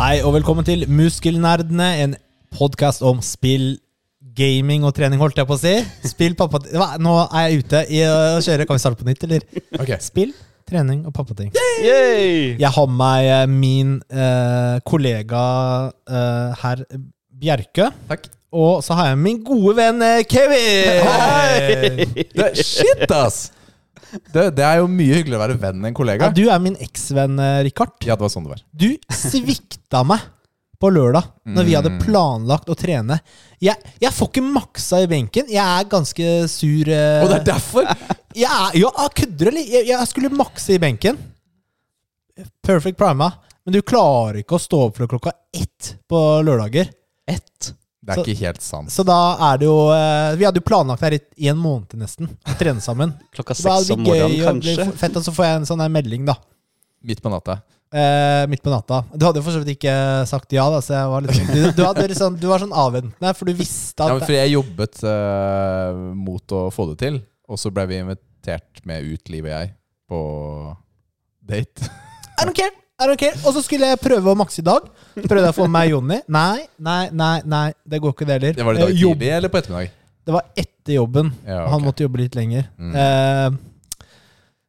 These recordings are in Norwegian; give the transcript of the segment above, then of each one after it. Hei og velkommen til Muskelnerdene, en podkast om spill, gaming og trening, holdt jeg på å si. Spill, pappa... Hva? Nå er jeg ute i å kjøre. Kan vi starte på nytt, eller? Ok. Spill, trening og pappating. Yay! Jeg har med meg eh, min eh, kollega eh, herr Bjerke. Takk. Og så har jeg min gode venn eh, Kevin! Det, shit, ass! Det, det er jo mye hyggeligere å være venn enn kollega. Ja, du er min eksvenn, eh, Richard. Ja, det var sånn det var. Du svikta meg på lørdag når vi Mm. hadde planlagt å trene. Jeg, jeg får ikke maksa i benken. Jeg er ganske sur. eh, Og det er derfor! Jeg er, ja, jeg kødder eller? Jeg, jeg skulle makse i benken. Perfect prima. Men du klarer ikke å stå opp før klokka ett på lørdager. Ett. Det er ikke helt sant. Så da er det jo eh, Vi hadde jo planlagt her i i en måned nesten. Å trene sammen. Klokka Så da seks hadde om vi gøy og morgenen, det kanskje. blir fett, og så får jeg en sånn her melding, da. Midt på natta. Eh, midt på natta. Du hadde jo for så vidt ikke sagt ja, da, så jeg var litt sånn Du, du, hadde liksom, du var sånn avventende, for du visste Ja, at men for jeg jobbet eh, mot å få det til, og så ble vi invitert med ut, Liv og jeg, på date. I don't care! I don't care! Og så skulle jeg prøve å makse i dag. Prøvde jeg å få med meg Jonny. Nei, nei, nei, nei, det går ikke, det heller. Det var i dag Eh, jobb- tidlig eller på ettermiddag? det var etter jobben. Ja, Han ok. måtte jobbe litt lenger. Mm. Eh,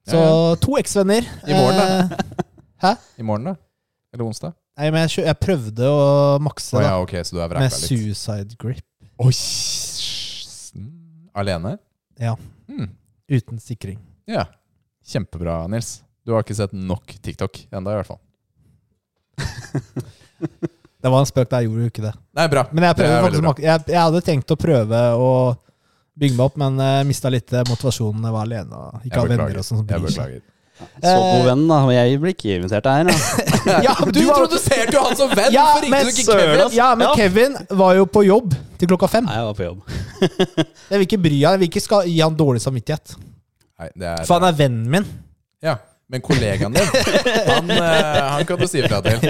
så Ja, to eksvenner. I morgen, da? I morgen, da? Eller onsdag? Nei, men jeg, kjø- jeg prøvde å makse, Å da. ja, ok, så du er med vraka litt. suicide grip. Oi, s- mm, Alene? Ja. Mm, Uten sikring. ja. Kjempebra, Nils. Du har ikke sett nok TikTok ennå, i hvert fall. Det var en spøk, da jeg gjorde jo ikke det. Nei, bra. Men jeg, Det prøver er faktisk, veldig å bra. mak- jeg, jeg hadde tenkt å prøve å bygge meg opp, men uh, mista litt eh, motivasjonen. Jeg var alene og ikke Jeg hadde beklager. venner og sånn. som Jeg bryr seg. beklager. Så god venn, da. Men jeg blir ikke invitert her. Da. Ja, men Du var- introduserte jo han som venn! ja, Hvorfor ringte men, du ikke søren, Kevin? ass. ja, men Ja. Kevin var jo på jobb til klokka fem. Nei, jeg var på jobb. Jeg vil ikke bry han, jeg vil ikke skal gi han dårlig samvittighet. Nei, det er For han er vennen min. Ja, men kollegaen din, han, eh, han kan du si ifra til.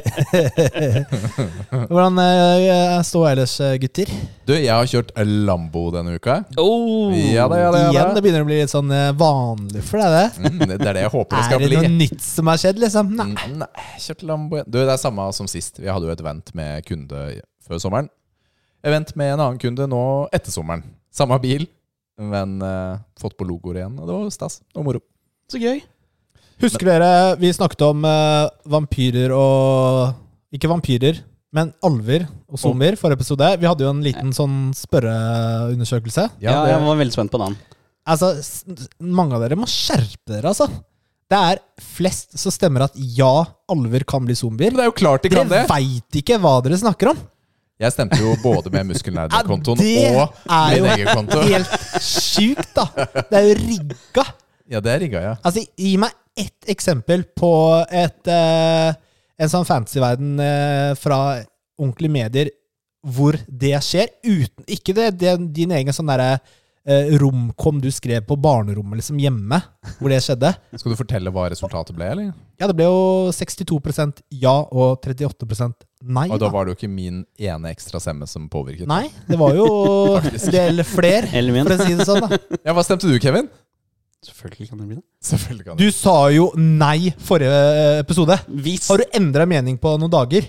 Hvordan uh, står jeg ellers, eh, gutter? Du, jeg har kjørt Lambo denne uka. Oh. Ja da, ja da. ja Igjen, da. det begynner å bli litt sånn eh, vanlig for deg, det. Mm, det er det jeg håper det Er skal det bli. noe nytt som har skjedd, liksom? Nei. Mm, Nei, kjørt Lambo igjen. Du, det er samme som sist. Vi hadde jo et event med kunde før sommeren. Event med en annen kunde nå etter sommeren. Samme bil, men eh, fått på logoer igjen. Og det var stas og moro. Så gøy. Husker dere vi snakket om eh, vampyrer og Ikke vampyrer, men alver og zombier forrige episode. Vi hadde jo en liten sånn spørreundersøkelse. Ja, det, Jeg var veldig spent på den. Altså, s- mange av dere må skjerpe dere, altså. Det er flest som stemmer at ja, alver kan bli zombier. men det er jo klart de kan det! Dere veit ikke hva dere snakker om! Jeg stemte jo både med Muskelnerden-kontoen det og er jo min egen konto. helt sjukt, da! Det er jo rigga! Ja, det rigga jeg. Altså, gi meg ett eksempel på et, eh, en sånn fantasyverden eh, fra ordentlige medier hvor det skjer, uten ikke det, det din egen sånn derre eh, romkom du skrev på barnerommet liksom hjemme, hvor det skjedde. Skal du fortelle hva resultatet ble, eller? Ja, det ble jo 62 ja og 38 nei. Og da da. var det jo ikke min ene ekstra stemme som påvirket. Nei, det var jo en del fler, Eller min. for å si det sånn. da. Ja, Hva stemte du, Kevin? Selvfølgelig kan det bli det. Selvfølgelig kan Du sa jo nei forrige eh, episode. Hvis, Har du endra mening på noen dager?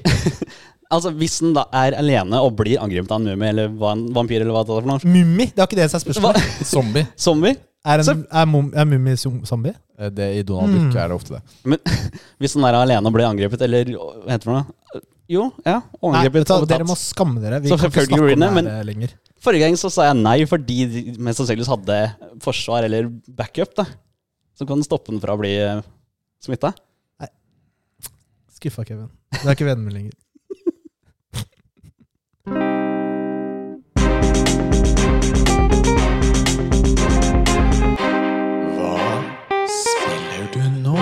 altså, hvis den da er alene og blir angrepet av en mumie eller hva en vampyr eller hva det er for noe Mummi, det har ikke det som er spørsmålet. Zombie. Zombie. Er, en, Så- er, mum, er Mummi som- zombie? Eh, Det, I Donald Duck er det ofte det. Men hvis den er alene og blir angrepet eller hva heter det for noe? Jo, ja. Nei, Angrepet. så og dere tatt. må skamme dere. Vi Så kan ikke selvfølgelig snakke om det ruiner, her men- eh, lenger. Forrige gang så sa jeg nei fordi de mest sannsynligvis hadde forsvar eller backup, da. Som kan stoppe den fra å bli eh, smitta. Skuffa, Kevin. Du er ikke venner med lenger. Hva spiller du nå?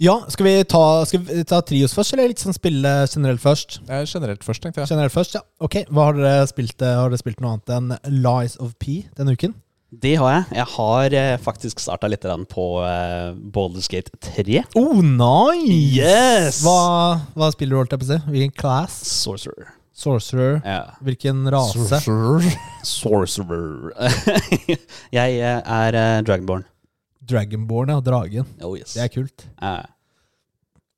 Ja, skal vi ta, skal vi ta trios først, eller litt sånn spille generelt først? Eh, Generelt først, tenkte jeg. Generelt først, ja. Ok, hva Har dere spilt eh, Har dere spilt noe annet enn Lies of P denne uken? Det har jeg. Jeg har eh, faktisk starta litt grann på eh, Baldur's Gate 3. Oh, nice! Yes! Hva, hva spiller du, holdt jeg på å si? Hvilken class? Sorcerer. Sorcerer? Ja. Hvilken rase? Sorcerer. jeg eh, er eh, dragonborn. Dragonborn, ja. Dragen. Oh yes. Det er kult. Eh,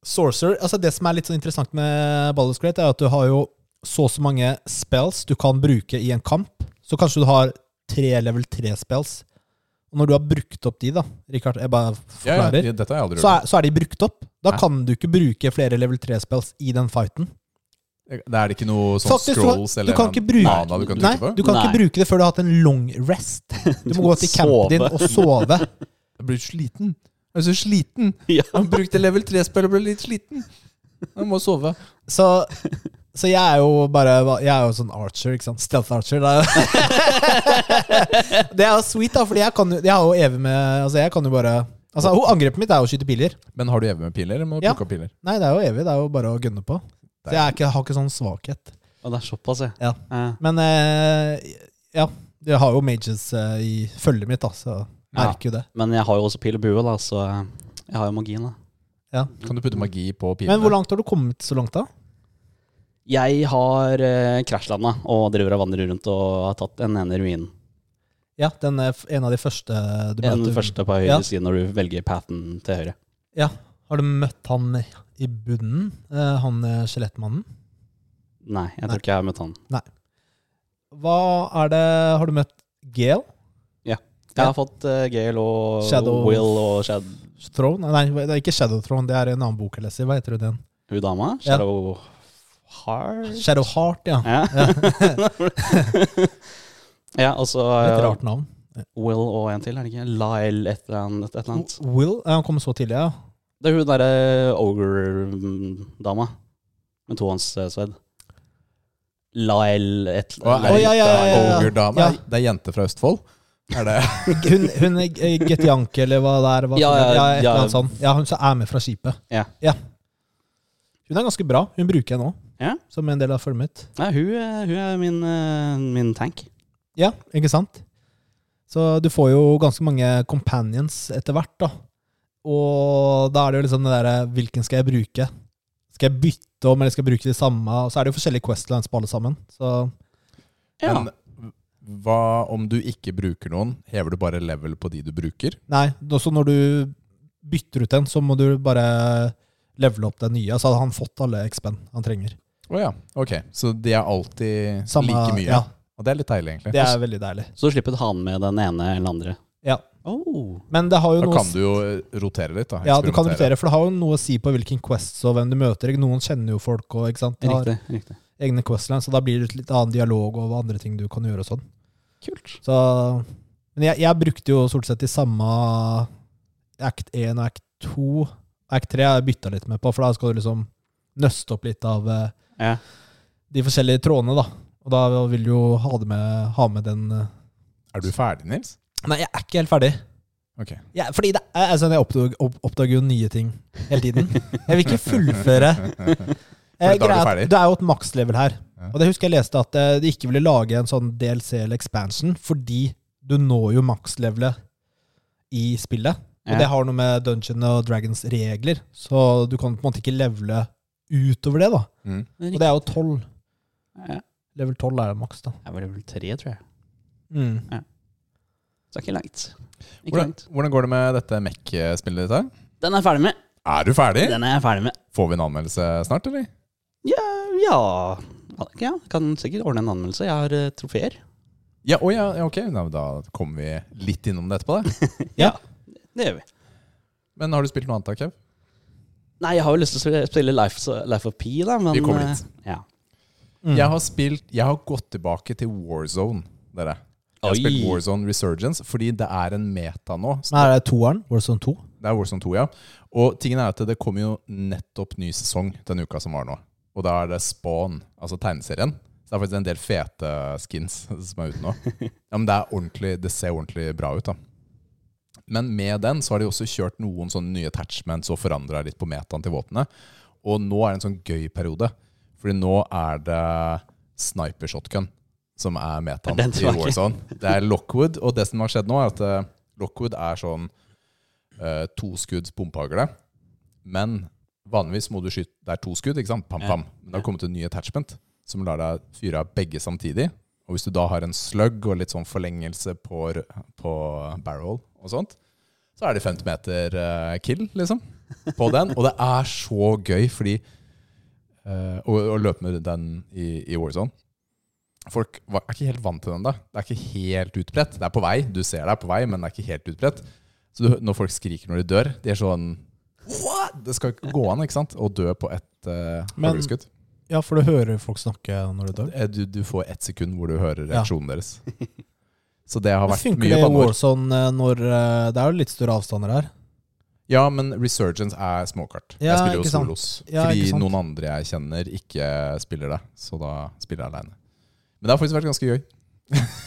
Sorcerer altså Det som er litt sånn interessant med Baldur's Gate, er at du har jo så og så mange spells du kan bruke i en kamp. Så kanskje du har tre level 3-spells. Og når du har brukt opp de, da Richard, jeg bare Ja, forklarer. ja, dette har jeg aldri så, gjort. er, så er de brukt opp. Da Hæ? kan du ikke bruke flere level 3-spells i den fighten. Det er det ikke noe sånn Faktisk, du kan- scrolls du eller kan en ikke bruke- mana du kan Nei, trykke på? du kan Nei. ikke bruke det før du har hatt en long rest. Du må gå til campen din og sove. Jeg blir sliten. Jeg er så sliten. Ja. Han brukte level 3-spill og ble litt sliten. Han må sove. Så, så jeg er jo bare Jeg er jo sånn archer, ikke sant? Stealth archer. Da. Det er jo sweet, da, Fordi jeg kan jo Jeg har jo evig med Altså, jeg kan jo bare Altså, ho- Angrepet mitt er jo å skyte piler. Men har du evig med piler? Eller må du Ja. plukke opp piler? Nei, det er jo evig. Det er jo bare å gønne på. Så jeg er ikke, har ikke sånn svakhet. Og det er såpass, ja. Ja. Eh, Men eh, ja, jeg har jo mages eh, i følget mitt, da, så jeg Ja. merker jo det. Men jeg har jo også pil og bue, da, så eh, jeg har jo magien, da. Kan du putte magi på pilene? Men hvor langt har du kommet så langt, da? Jeg har eh, krasjlanda og driver og vandrer rundt og har tatt den ene ruinen. Ja, den er f- en av de første du Den møter. første på høyre Ja. side når du velger pathen til høyre. Har du møtt han i bunnen? eh, Han eh, skjelettmannen? Nei, Nei. jeg tror ikke jeg har møtt han. Hva er det Har du møtt Gale? Jeg har fått uh, Gale og Shadow- Will og Shad... Throne? Nei, det er ikke Shadow Throne, det er en annen bok jeg leser. Hva heter den? Hun dama? Ja. Shadow Heart? Shadow Heart, ja. Ja. ja, og så Litt eh, rart navn. Will og en til, er det ikke? Lyle et eller annet. Et eller annet. Will? Ja, Han kom så tidlig, ja. Det er hun derre eh, ogre-dama med tohåndssverd. Lyle et Å, er det Å, ja, ja, ja, ja, ja. Ogre-dame? Ja. Det er jente fra Østfold? Er det Hun, hun er eh, Getianke, eller hva det er. Hva Ja, som ja, er- ja, et ja. eller annet sånt. ja, hun som er med fra skipet. Ja. Hun er ganske bra. Hun bruker jeg nå, Ja. som en del av følget mitt. Nei, hun, er- hun er min, eh, min tank. Ja, ikke sant? Så du får jo ganske mange companions etter hvert, da. Og da er det jo liksom det derre Hvilken skal jeg bruke? Skal jeg bytte om, eller skal jeg bruke de samme? Og så er det jo forskjellige Questlines på alle sammen. Så Ja. Men hva om du ikke bruker noen? Hever du bare level på de du bruker? nei, også når du bytter ut en, så må du bare levele opp den nye. Så hadde han fått alle XP-en han trenger. Å ja, ok. Så de er alltid Samme- like mye? Ja, Og det er litt deilig, egentlig. det er veldig deilig. Så du slipper å ha den med den ene eller andre. Ja. Oh. Men det har jo Da noe kan du jo eh, rotere litt, da. Ja, du kan Eksperimentere. rotere, for det har jo noe å si på hvilken quests og hvem du møter. Noen kjenner jo folk, og ikke sant. De har- Riktig. riktig. egne questlines, så da blir det litt annen dialog og andre ting du kan gjøre og sånn. Kult. Så, men jeg, jeg brukte jo stort sett de samme act 1 og act 2. Act 3 har jeg bytta litt med på, for da skal du liksom nøste opp litt av eh, Ja. de forskjellige trådene, da. Og da vil du jo ha, det med, ha med den eh. Er du ferdig, Nils? Nei, jeg er ikke helt ferdig. Ok. Jeg, fordi det, er- altså, jeg oppdag, opp, oppdager jo nye ting hele tiden. Jeg vil ikke fullføre. Eh, For da er du greia er ferdig. at det er jo et makslevel her. Ja. Og det husker jeg leste at eh, de ikke ville lage en sånn DLC eller expansion, fordi du når jo makslevelet i spillet. Og Ja. det har noe med Dungeon og Dragons regler, så du kan på en måte ikke levele utover det, da. Mm. Og det er jo 12. Ja. Level 12 er det maks, da. Jeg var vel tre, tror jeg. Mm. Så det er ikke langt. Ikke Hvordan, langt. hvordan går det med dette Mech-spillet ditt her? Den er jeg ferdig med. Er du ferdig? Den er jeg ferdig med. Får vi en anmeldelse snart, eller? Ja, Eh, ja. ja Kan sikkert ordne en anmeldelse. Jeg har eh, trofeer. Ja, å ja, ja, ok. Nei, men da kommer vi litt innom det etterpå, da. Det gjør vi. Men har du spilt noe annet, da, Kev? Nei, jeg har jo lyst til å spille Life, Life of P, da, men Vi kommer eh, dit. Ja. Mm. Jeg har spilt Jeg har gått tilbake til Warzone, dere. Jeg har Oi. spilt Warzone Resurgence fordi det er en meta nå. Så Men er det toeren? Warzone 2? Det er Warzone 2, ja. Og tingen er at det kommer jo nettopp ny sesong den uka som var nå. Og da er det Spawn, altså tegneserien. Så det er faktisk en del fete skins som er ute nå. Ja, men det, er ordentlig, det ser ordentlig bra ut, da. Men med den så har de også kjørt noen sånne nye attachments og forandra litt på metaen til våpnene. Og nå er det en sånn gøy periode. Fordi nå er det sniper shotgun som er metaen Er den i tilbake? Warzone. Det er Lockwood, og det som har skjedd nå, er at eh, Lockwood er sånn uh, toskudds bompehagle. Men vanligvis må du skyte Det er to skudd, ikke sant? Pam, Ja. pam. Men det har kommet en ny attachment som lar deg fyre av begge samtidig. Og hvis du da har en slug og litt sånn forlengelse på, r- på barrel og sånt, så er det 50 meter eh, kill, liksom. på den, og det er så gøy fordi eh, å, å løpe med den i, i Warzone. Folk var, er ikke helt vant til den da. Det er ikke helt utbredt. Det er på vei, du ser det er på vei, men det er ikke helt utbredt. Så du, når folk skriker når de dør, de er sånn What? Det skal ikke gå an ikke sant? å dø på ett uh, Men- hagleskudd. Ja, for du hører folk snakke når du dør. Eh, Du, du får ett sekund hvor du hører Ja. reaksjonen deres. Så det har Men vært Funker mye det i banneord. Warzone eh, når eh, Det er jo litt større avstander her. Ja, men Resurgence er småkart. Ja, jeg spiller jo ikke sant. solos. Ja, fordi ikke sant. noen andre jeg kjenner, ikke spiller det. Så da spiller jeg aleine. Men det har faktisk vært ganske gøy.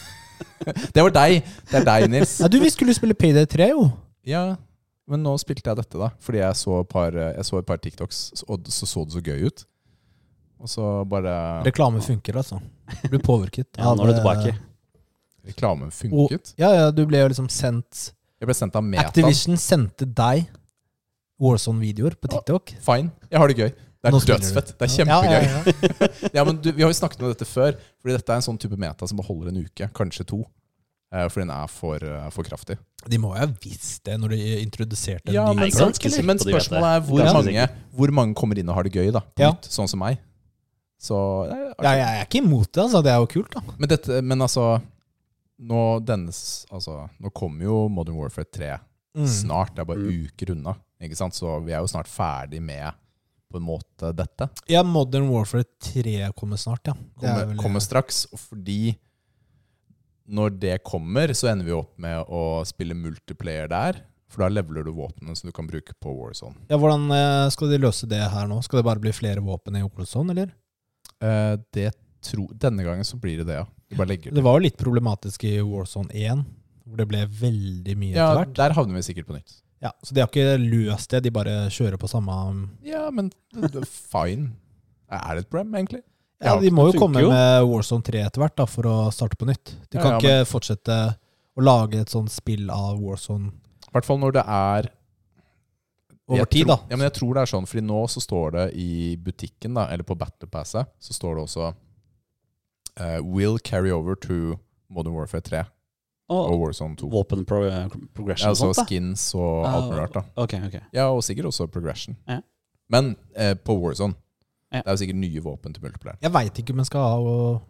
det var deg! Det er deg, Nils. Nei, du, vi skulle spille PD3, jo. Ja, men nå spilte jeg dette, da. Fordi jeg så et par, eh, jeg så et par TikToks, og så så det så gøy ut. Og så bare Reklame funker, altså. Du blir påvirket. Ja, nå er du tilbake. Reklamen funket. Ja, ja, du ble jo liksom sendt Jeg ble sendt av Meta. Activision sendte deg Warzone-videoer på TikTok. Fine. Jeg har det gøy. Det er Nå spiller du. dødsfett. Det er Ja, kjempegøy. ja, ja, ja. Ja, men du, Vi har jo snakket om dette før, Fordi dette er en sånn type meta som beholder en uke, kanskje to. Eh, For den er for, eh, for kraftig. De må jo ha visst det når de introduserte en Ja, ny men, men- Warzone. ganske sikker men på de vet det. spørsmålet er hvor Ganske mange, hvor mange kommer inn og har det gøy, da. På Ja. nytt, sånn som meg. Så det er Ja, artig. jeg er ikke imot det, altså. Det er jo kult, da. Men, dette, men altså nå, dennes, altså nå kommer jo Modern Warfare 3 snart. Det er bare Mm. uker unna. Ikke sant? Så vi er jo snart ferdig med på en måte dette. Ja, Modern Warfare 3 kommer snart, ja. Det er kommer, vel- kommer straks. Og fordi når det kommer, så ender vi opp med å spille multiplayer der. For da leveler du våpnene som du kan bruke på Warzone. Ja, Hvordan eh, skal de løse det her nå? Skal det bare bli flere våpen i Warzone, eller? Eh, det tro, denne gangen så blir det det, ja. Du bare legger det. Det var jo litt problematisk i Warzone 1, hvor det ble veldig mye Ja, etter hvert. der havner vi sikkert på nytt. Ja, så de har ikke løst det, de bare kjører på samme Ja, men det- det- fine. Er det et problem, egentlig? Ja, Ja, De må jo det funker komme jo. med Warzone 3 etter hvert da, for å starte på nytt. De Ja, kan ja, ikke fortsette å lage et sånt spill av Warzone I hvert fall når det er over Jeg tid, tror- da. Ja, men jeg tror det er sånn, fordi nå så står det i butikken, da, eller på Battlepasset, så står det også eh, Will carry over to Modern Warfare 3 og Og Warzone 2. våpen pro eh, progression Oh, Ja, altså og sånt, da. skins og Ja, alt mulig rart. da Ok, ok. Ja, Og sikkert også progression. Ja. Men eh, på Warzone Ja. Det er jo sikkert nye våpen til multiplayer. Jeg veit ikke om jeg skal ha og-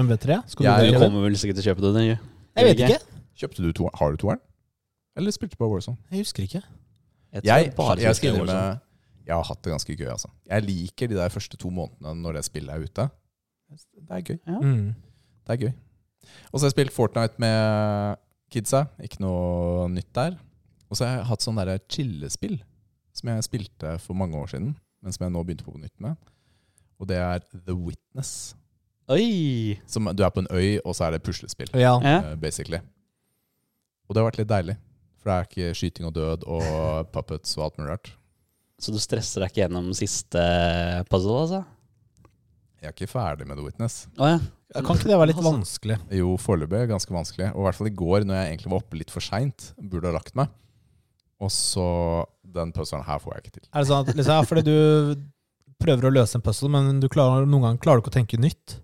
MV3. Skal Jeg du er jo Du velge det? kommer vel sikkert til å kjøpe det? Nye. Jeg vet ikke. Kjøpte du to, Har du toeren? Eller spilte du på Warzone? Jeg husker ikke. Jeg, tror Jeg, jeg bare jeg, skal kjøper innrømme, Warzone. jeg har hatt det ganske gøy. altså Jeg liker de der første to månedene når det spillet er ute. Det er gøy. Ja. Mm. Det er gøy. Og så har jeg spilt Fortnite med kidsa. Ikke noe nytt der. Og så har jeg hatt sånn derre chillespill som jeg spilte for mange år siden, men som jeg nå begynte på på nytt med. Og det er The Witness. sånn. Oi! Som, du er på en øy, og så er det puslespill, Ja. Ja. eh, basically. Og det har vært litt deilig. For det er ikke skyting og død og puppets og alt mulig rart. Så du stresser deg ikke gjennom siste puzzle, altså? Jeg er ikke ferdig med The Witness. Å ja. Kan ikke det være litt Altså, vanskelig? Jo, foreløpig er det ganske vanskelig. Og i hvert fall i går, når jeg egentlig var oppe litt for seint, burde ha lagt meg. Og så Den puzzlen her får jeg ikke til. Er det sånn at liksom, ja, fordi du prøver å løse en puzzle, men du klarer, noen ganger klarer du ikke å tenke nytt?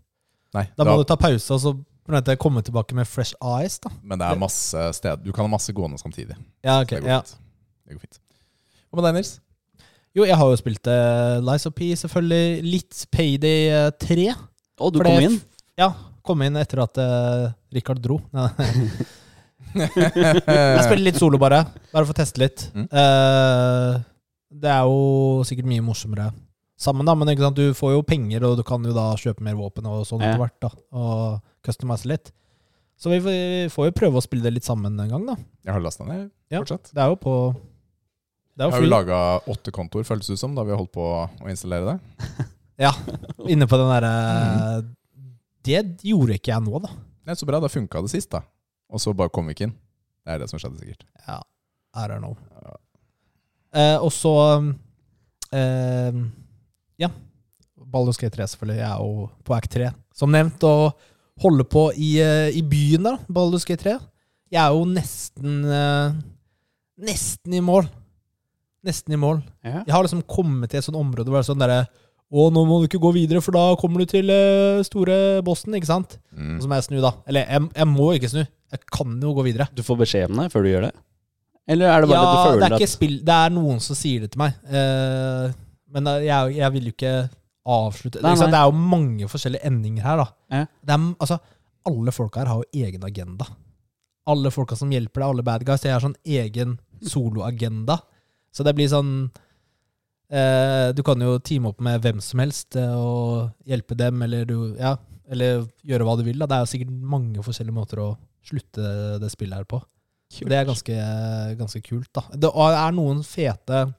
Nei, Da da, må du ta pause og så på en måte komme tilbake med fresh eyes. da. men det er masse steder. Du kan ha masse gående samtidig. Ja, Så ok. det går Ja. fint. Det går fint. Hva med deg, Nils? Jo, jeg har jo spilt eh, Lies of P, selvfølgelig. Litt Payday eh, 3. Å, du For kom det- inn? Ja, kom inn etter at eh, Richard dro. Nei. jeg jeg spiller litt solo, bare. Bare for å teste litt. Mm. Eh, det er jo sikkert mye morsommere sammen, da. Men ikke sant? du får jo penger, og du kan jo da kjøpe mer våpen og sånn Ja. etter hvert. da. Og customize litt. Så vi, får- vi får jo prøve å spille det litt sammen en gang, da. har lasta ned Ja. fortsatt. Det er jo på Det er Jeg har jo jo free. laga åtte kontoer, føles det ut som, da vi har holdt på å installere det. Inne på den derre Det gjorde ikke jeg nå, da. Nei, så bra, da funka det sist, da. Og så bare kom vi ikke inn. Det er det som skjedde, sikkert. Ja, I don't know. Ja. Eh, og så eh, Ja. Baldur's Gate 3, selvfølgelig. Jeg er jo på Act 3, som nevnt. Og holder på i, eh, i byen, da. Baldur's Gate 3. Jeg er jo nesten eh, Nesten i mål. Nesten i mål. Ja. Jeg har liksom kommet til et sånt område hvor det er sånn derre Å, nå må du ikke gå videre, for da kommer du til eh, store bossen, ikke sant? Og Mm. så må jeg snu, da. Eller jeg, jeg må ikke snu. Jeg kan jo gå videre. Du får beskjed om det før du gjør det? Eller er det bare det du ja, føler det er at ikke spill Det er noen som sier det til meg. Eh, men da- jeg, jeg vil jo ikke avslutte Nei, Ikke sant? nei. Det er jo mange forskjellige endinger her, da. Ja. Det er, altså, alle folka her har jo egen agenda. Alle folka som hjelper deg, alle bad guys, de har sånn egen soloagenda. Så det blir sånn eh, Du kan jo teame opp med hvem som helst eh, og hjelpe dem, eller du Ja. Eller gjøre hva du vil. da Det er jo sikkert mange forskjellige måter å slutte det spillet her på. Kult. Det er ganske, ganske kult, da. Det er noen fete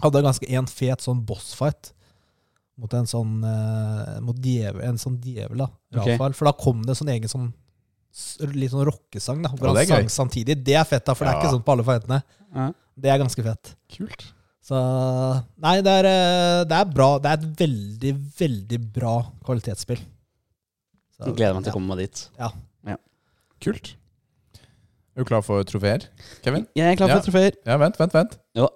Hadde ganske en fet sånn bossfight mot en sånn eh, mot djevel, en sånn djevel, da. Ok. Rafael. For da kom det en sånn egen sånn s- litt sånn rockesang, da. Hvor Ja, han det er sang samtidig. Det er fett, da, for det er Ja. ikke sånn på alle fightene. Ja. Det er ganske fett. Kult. Så Nei, det er, eh, det er bra. Det er et veldig, veldig bra kvalitetsspill. Så, Jeg Gleder meg til å komme meg dit. Kult. Er du klar for trofeer, Kevin? Jeg er klar for Ja. trofeer. Ja, vent, vent, vent. Jo.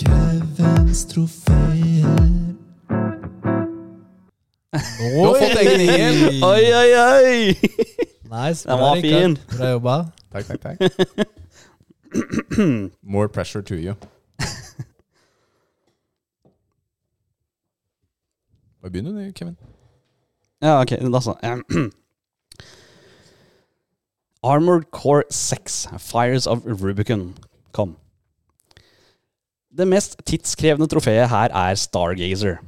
Kevins trofeer. ja. Du har fått egen ingel. Oi, oi, oi! Nice. Den bra, var Rikard. fin. Bra jobba. Takk, takk, takk. More pressure to you. Bare begynn du, Kevin. Ja, ok, altså, da så. ehm, Armored Core 6, Fires of Rubicon, kom. Det mest tidskrevende trofeet her er Stargazer,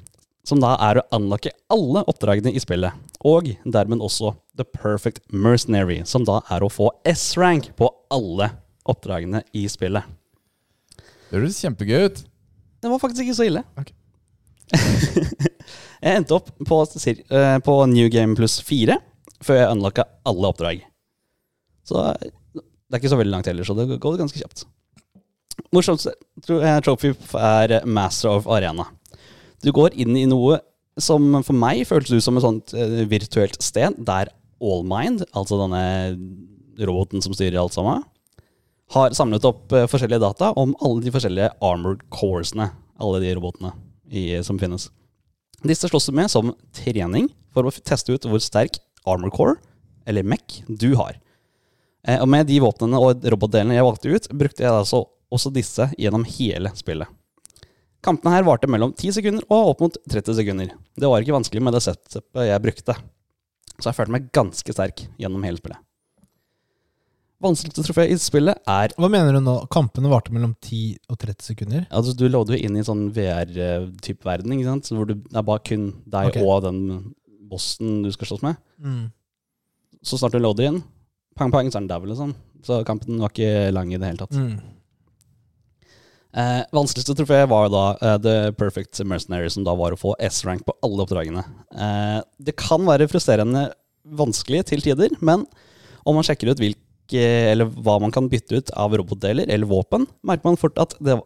som da er å anlokke alle oppdragene i spillet, og dermed også The Perfect Mercenary, som da er å få S-rank på alle oppdragene i spillet. Det høres kjempegøy ut. Det var faktisk ikke så ille. Ok. jeg endte opp på, sir- eh, på New Game pluss 4 før jeg unlocka alle oppdrag. Så eh, det er ikke så veldig langt heller, så det går ganske kjapt. Morsomst tror jeg trophy er Master of Arena. Du går inn i noe som for meg føltes ut som et sånt eh, virtuelt sted, der Allmind, altså denne roboten som styrer alt sammen, har samlet opp eh, forskjellige data om alle de forskjellige armored coresene. Alle de robotene i, som finnes. Disse slåss du med som trening for å f- teste ut hvor sterk armored core, eller MEC, du har. Eh, og med de våpnene og robotdelene jeg valgte ut, brukte jeg altså også disse gjennom hele spillet. Kampene her varte mellom 10 sekunder og opp mot 30 sekunder. Det var ikke vanskelig med det setupet jeg brukte, så jeg følte meg ganske sterk gjennom hele spillet. Vanskeligste trofé i spillet er Hva mener du nå? Kampene varte mellom 10 og 30 sekunder? Altså, du lodder jo inn i en sånn VR-type verden, ikke sant? Så Hvor du, det er bare kun deg Ok. og den bossen du skal slåss med. Mm. Så snart du lodder inn, pang, pang, så er den der, liksom. Så kampen var ikke lang i det hele tatt. Mm. Eh, vanskeligste trofé var jo da eh, The Perfect Mercenary, som da var å få S-rank på alle oppdragene. Eh, det kan være frustrerende vanskelig til tider, men om man sjekker ut hvilke, eller hva man kan bytte ut av robotdeler eller våpen, merker man fort, at det,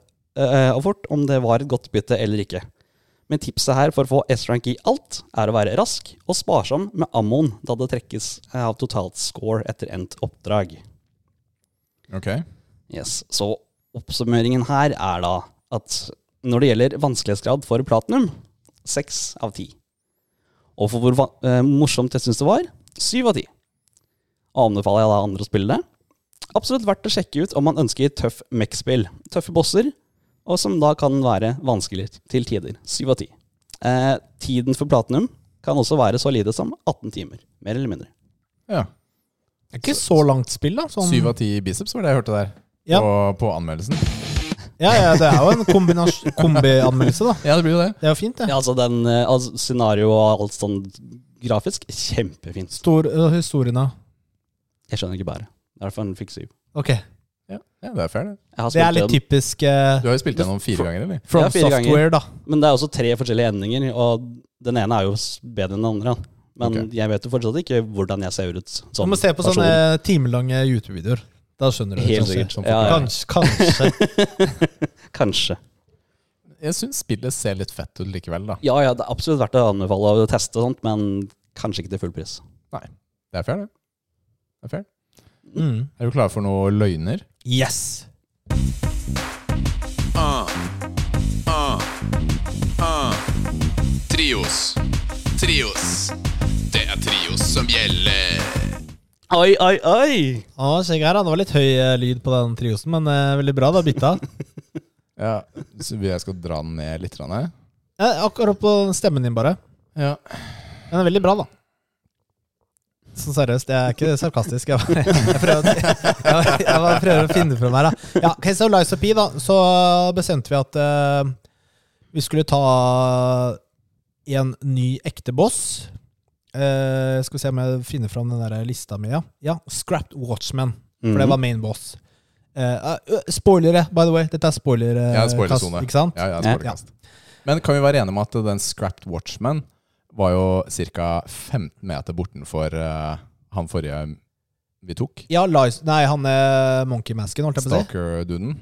eh, og fort om det var et godt bytte eller ikke. Men tipset her for å få S-rank i alt, er å være rask og sparsom med ammoen, da det trekkes eh, av totalt score etter endt oppdrag. Ok. Yes, Så oppsummeringen her er da at når det gjelder vanskelighetsgrad for platinum, seks av ti. Og for hvor va- eh, morsomt jeg syns det var, syv av ti. Og anbefaler jeg da andre å spille det. Absolutt verdt å sjekke ut om man ønsker tøff mech-spill. Tøffe bosser, og som da kan være vanskelig til tider. Syv av ti. Eh, tiden for platinum kan også være så lite som 18 timer. Mer eller mindre. Ja. Det er ikke så langt spill, da. Sånn, Syv av ti biceps var det jeg hørte der. Ja. På, på anmeldelsen. ja, ja, det er jo en kombinas- kombianmeldelse, da. Ja, det blir jo det. Det er jo fint, det. Ja, altså den eh, altså, scenario og alt sånn grafisk, kjempefint. Stor, øh, historien, da. Jeg skjønner ikke bæret. Derfor han fikk syv. Ok. Ja, ja det er fair, det. Jeg har Det er spilt litt den, typisk eh, Du har jo spilt gjennom fire ganger, eller? From Ja, fire ganger. Software, da. Men det er også tre forskjellige endinger, og den ene er jo s- bedre enn den andre. da. Men Ok. jeg vet jo fortsatt ikke hvordan jeg ser ut Du som må se på person. sånne timelange YouTube-videoer. Da skjønner du. det, Helt kanskje. sikkert. som Ja, ja. Kanskje, kanskje. Kanskje. Jeg syns spillet ser litt fett ut likevel, da. Ja ja, det er absolutt verdt å anbefale å teste og sånt, men kanskje ikke til full pris. Det er fair, det. det er, fair. Mm. er du klar for noe løgner? Yes! Trios. Trios. Det er trios som gjelder. Oi, oi, oi! Å, sjekk her, da. Det var litt høy eh, lyd på den triosen, men eh, veldig bra. Da bytta. Ja, så jeg skal dra den ned litt. grann her. Eh, akkurat på stemmen din, bare. Ja. Men den er veldig bra, da. Sånn seriøst, jeg er ikke sarkastisk. Jeg, bare, jeg, prøver, jeg, bare- jeg bare prøver å finne fram her, da. Ja, ok, så Lies of P, da. Så bestemte vi at eh, vi skulle ta en ny ekte boss. Eh, skal vi se om jeg finner fram den der lista mi. Ja, ja Scrapped Watchman. For Mhm. det var main boss. Eh, eh, spoilere, by the way. Dette er spoiler, eh, Ja, spoilersone. kast, Ikke sant? Ja, ja, Ja. spoilerkast. Men kan vi være enige om at den Scrapped Watchman var jo ca. 15 meter bortenfor eh, han forrige vi tok? Ja, Lies, nei, han er monkey-masken, holdt jeg på å si. Stalker-duden?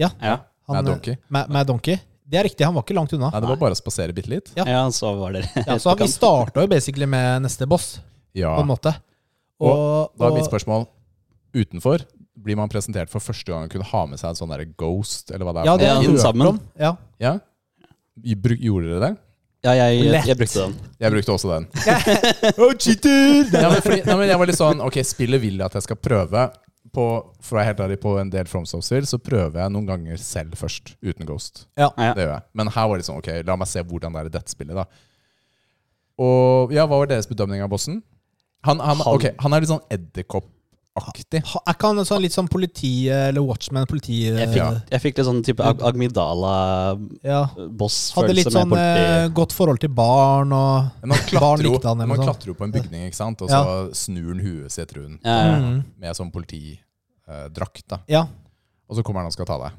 Ja. Han, eh, Mad Donkey. Mad, Mad Donkey. Det er riktig, han var ikke langt unna. Nei, det var bare å spasere bitte litt. Ja. ja, så var dere Ja, så vi starta jo basically med neste boss, Ja. på en måte. Og, Da er og- mitt spørsmål Utenfor blir man presentert for første gang å kunne ha med seg en sånn der ghost, eller hva det er. Ja, for det Ja, har noe. vi den hørt sammen. om. Ja. ja. I bru- Gjorde dere det? Ja, jeg, jeg, Lett. brukte den. Jeg brukte også den. oh, cheater! Ja, men fordi, nei, men jeg var litt sånn Ok, spillet vil at jeg skal prøve. På, for å være helt ærlig, på en del FromSoft-spill så prøver jeg noen ganger selv først, uten Ghost. Ja. Ja. Det gjør jeg. Men her var det sånn Ok, la meg se hvordan det er i dette spillet, da. Og ja, hva var deres bedømning av bossen? Han, han, Han- ok, han er litt sånn edderkoppaktig. Ha- Er ikke han en sånn, litt sånn politi, eller watchman, politi... Jeg fikk, jeg fikk litt sånn type Ag Agmidala-boss-følelse ja. Hadde litt med sånn eh, politi. godt forhold til barn og Men han Barn klatrer jo likte han, eller men han noe sånt. klatrer jo på en bygning, ikke sant? og så Ja. snur han huet sitt rundt Ja, ja. mm, med sånn politidrakt. da. Ja. Og så kommer han og skal ta deg,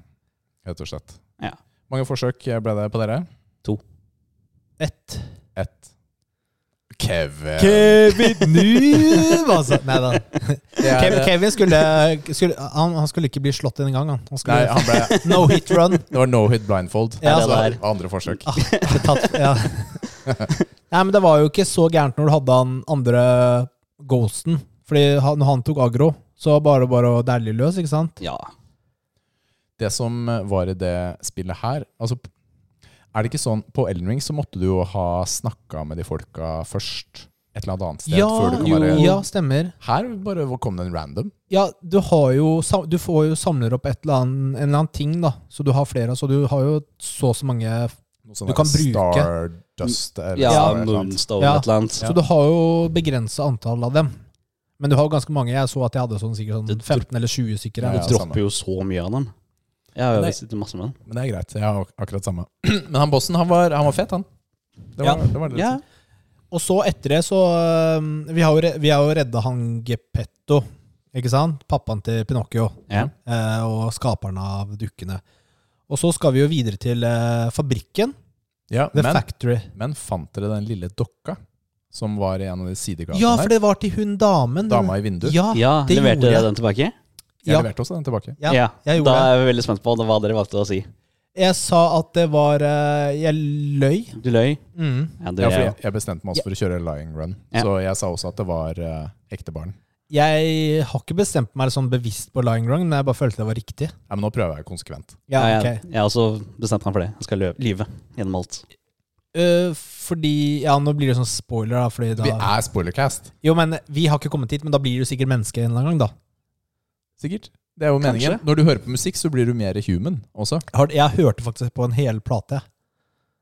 rett og slett. Ja. Mange forsøk ble det på dere? Ett. Ett. Kevin. Kevin Newman, altså! Nei da. Det er- Kevin, Kevin skulle, skulle han, han skulle ikke bli slått en gang, han. han Nei, skulle, han ble, No hit run. det var no hit blindfold. Ja. Så Det andre forsøk. Ah, tatt, ja. Nei, men det var jo ikke så gærent når du hadde han andre ghosten. Fordi han, når han tok agro, så var det bare bare å dælle løs, ikke sant? ja. Det som var i det spillet her altså, Er det ikke sånn på Elden Ring så måtte du jo ha snakka med de folka først et eller annet annet sted? før du kan jo, være, ja, stemmer. Her bare kom det en random. Ja, du har jo sam- Du får jo samler opp et eller annet, en eller annen ting, da. Så du har flere. Så du har jo så og så mange Noe sånn Du der kan bruke- Stardust eller ja, sånn, eller noe sånt. Moonstone Ja. et eller annet. Så du har jo begrensa antall av dem. Men du har jo ganske mange. Jeg så at jeg hadde sånn sikkert Du- sånn du- 15 eller 20 sikkert. Ja, Du ja. samme. dropper jo så mye av dem. Jeg har jo Nei. visst masse med den. Men det er greit. Jeg har ak- akkurat samme. Men han bossen, han var, han var fet, han. Det var, Ja. det, var det liksom. Og så etter det så øhm, Vi har jo, re- vi har jo redda han Geppetto, ikke sant? Pappaen til Pinocchio. Ja. eh, og skaperen av dukkene. Og så skal vi jo videre til eh, fabrikken. Ja, The men, Factory. men fant dere den lille dokka som var i en av de sidegatene Ja, for det var til hun damen. her? Dama i vinduet. Ja, ja, Ah, det leverte gjorde jeg. dere den tilbake? Jeg ja, leverte også den tilbake. ja, jeg gjorde da det. er jeg veldig spent på hva dere valgte å si. Jeg sa at det var eh, Jeg løy. Du løy. Mm. Ja, det Ja, gjorde for jeg jeg, jeg bestemte meg også for å kjøre lying run, Ja. så jeg sa også at det var eh, ekte barn. Jeg har ikke bestemt meg sånn bevisst på lying wrong, men jeg bare følte det var riktig. Ja, men nå prøver jeg konsekvent. Ja, Ja, ok. jeg, jeg har også bestemt meg for det. Jeg skal lø- lyve gjennom alt. Eh, fordi Ja, nå blir det sånn spoiler, da. Fordi Vi da er spoilercast, jo, men vi har ikke kommet hit, men da blir du sikkert menneske en eller annen gang, da. sikkert. Det er jo meningen. Kanskje. Når du hører på musikk, så blir du mer human også. Jeg, har, jeg hørte faktisk på en hel plate.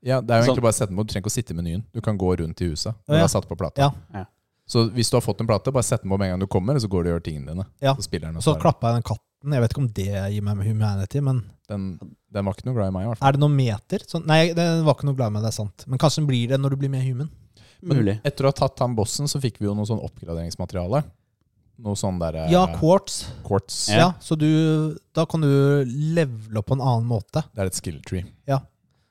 Ja, det er jo Sånn. egentlig bare å sette den på. Du trenger ikke å sitte i menyen. Du kan gå rundt i huset Ja. når du har satt på plata. Ja. Ja. Så hvis du har fått en plate, bare sett den på med en gang du kommer, og så går du og gjør tingene dine. Ja. Så spiller den, Og og så så er klappa jeg den katten. Jeg vet ikke om det gir meg humanity, men den, den var ikke noe glad i meg, i hvert fall. Er det noen meter? Sånn, nei, det var ikke noe glad med det, er sant. Men kanskje den blir det når du blir mer human. Men Mulig. etter å ha tatt han bossen, så fikk vi jo noe sånn oppgraderingsmateriale. Noe sånn der eh, Ja, quartz. quartz. Ja. så du, da kan du levele opp på en annen måte. Det er et skill tree. Ja.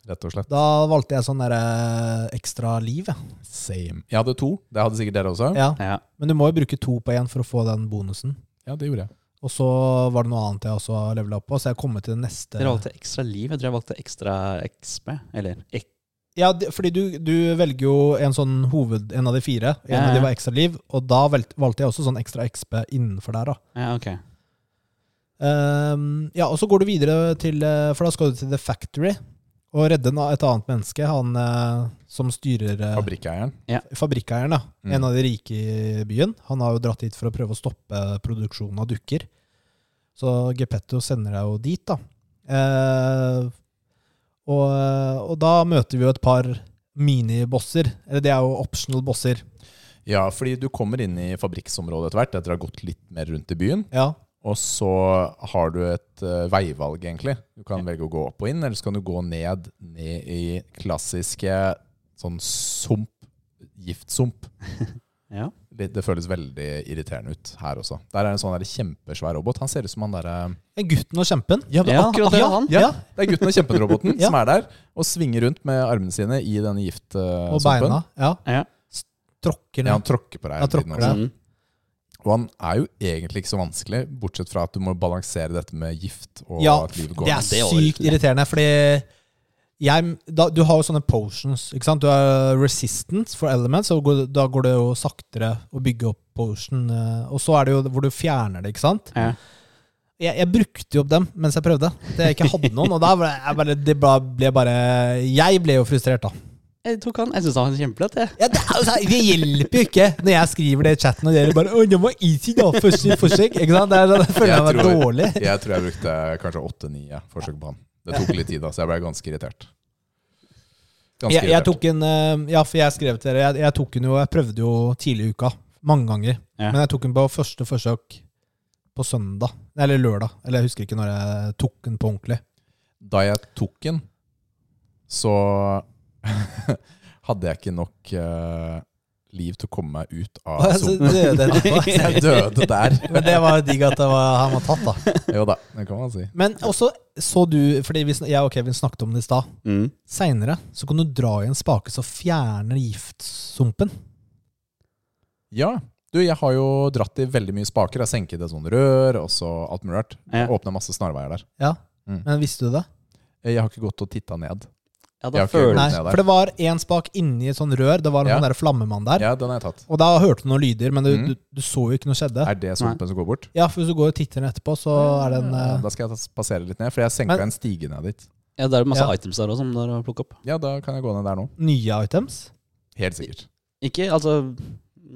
Rett og slett. Da valgte jeg sånn der, eh, ekstra liv. jeg. Same. Jeg hadde to. Det hadde sikkert dere også. Ja, Ja. Ja. Men du må jo bruke to på én for å få den bonusen. det gjorde jeg. Og så var det noe annet jeg også har levela opp på, så jeg har kommet til det neste. Dere valgte ekstra liv. Jeg tror jeg valgte ekstra XP. Eller ek Ja, det- fordi du, du velger jo en sånn hoved, en av de fire. En Ja, av ja. de var ekstra liv, og da vel- valgte jeg også sånn ekstra XP innenfor der, da. ja, ok. Ehm, ja, og så går du videre til eh, For da skal du til The Factory og redde en- et annet menneske. Han eh, som styrer eh, Fabrikkeieren. fabrikkeieren, da, Mm. en av de rike i byen, han har jo dratt hit for å prøve å stoppe produksjonen av dukker. Så Geppetto sender deg jo dit, da. Eh, og, og da møter vi jo et par minibosser. Eller det er jo optional bosser. Ja, fordi du kommer inn i fabrikksområdet etter hvert, etter å ha gått litt mer rundt i byen. Ja. Og så har du et eh, veivalg, egentlig. Du kan velge å gå opp og inn, eller så kan du gå ned, ned i klassiske sånn sump, giftsump. Ja. Det, det føles veldig irriterende ut her også. Der er en sånn der kjempesvær robot. Han ser ut som han derre Men Gutten og kjempen. ja, Ja, akkurat det, han. Ja, det er gutten og kjempen-roboten Ja. som er der og svinger rundt med armene sine i denne giftsumpen. Og beina. Ja. Ja. S- Tråkker Ja, han ned. tråkker på deg. Ja, hele tiden tråkker også. Ja. Mm. Og han er jo egentlig ikke så vanskelig, bortsett fra at du må balansere dette med gift og Ja, at livet går det er Det er sykt overraskende. irriterende, fordi jeg, da, du har jo sånne potions. ikke sant? Du har resistance for elements, og går, da går det jo saktere å bygge opp potion. eh, Og så er det jo hvor du fjerner det, ikke sant? Ja. Jeg, jeg brukte jo opp dem mens jeg prøvde, til jeg ikke hadde noen. Og da ble jeg bare, det ba- ble bare Jeg ble jo frustrert, da. Jeg tok han. Jeg syns han var kjempelett, jeg. Ja, det, er jo sånn, det hjelper jo ikke når jeg skriver det i chatten, og dere bare «Å, det var easy da, første forsøk. Ikke sant? Det, er- da føler jeg Jeg meg tror- dårlig. Jeg tror jeg brukte kanskje åtte-ni ja, forsøk på han. Det tok litt tid, da, så jeg ble ganske irritert. Ganske Jeg, jeg irritert. tok en eh, Ja, for jeg skrev til dere. Jeg, jeg tok den jo Jeg prøvde jo tidlig i uka. Mange ganger. Ja. Men jeg tok den på første forsøk på søndag. Eller lørdag. Eller jeg husker ikke når jeg tok den på ordentlig. Da jeg tok den, så hadde jeg ikke nok eh, liv til å komme meg ut av Så sumpen. døde jeg etterpå. Jeg døde der. Men det var digg at det var, han var tatt, da. Jo da, det kan man si. Men også så du Fordi vi, sn- jeg og Kevin snakket om det i stad. Mm. Seinere så kan du dra i en spake som fjerner giftsumpen. Ja. Du, jeg har jo dratt i veldig mye spaker. Jeg senket et sånt rør og så alt mulig rart. Ja. Åpna masse snarveier der. Ja. Mm. Men visste du det? Jeg har ikke gått og titta ned. Ja, Jeg da har ikke føler Nei, ned der. for det var én spak inni et sånn rør. Det var en Ja. sånn der flammemann der. Ja, den har jeg tatt. Og da hørte du noen lyder, men du, Mm. du, du så jo ikke noe skjedde. Er det sumpen som går bort? Ja, for hvis du går og titter den etterpå, så er den Ja, eh, Da skal jeg ta- passere litt ned, for jeg senka Men- en stige ned dit. Ja, det er masse Ja. items der også, som dere har plukket opp. Ja, da kan jeg gå ned der nå. nye items. Helt sikkert. Ikke, altså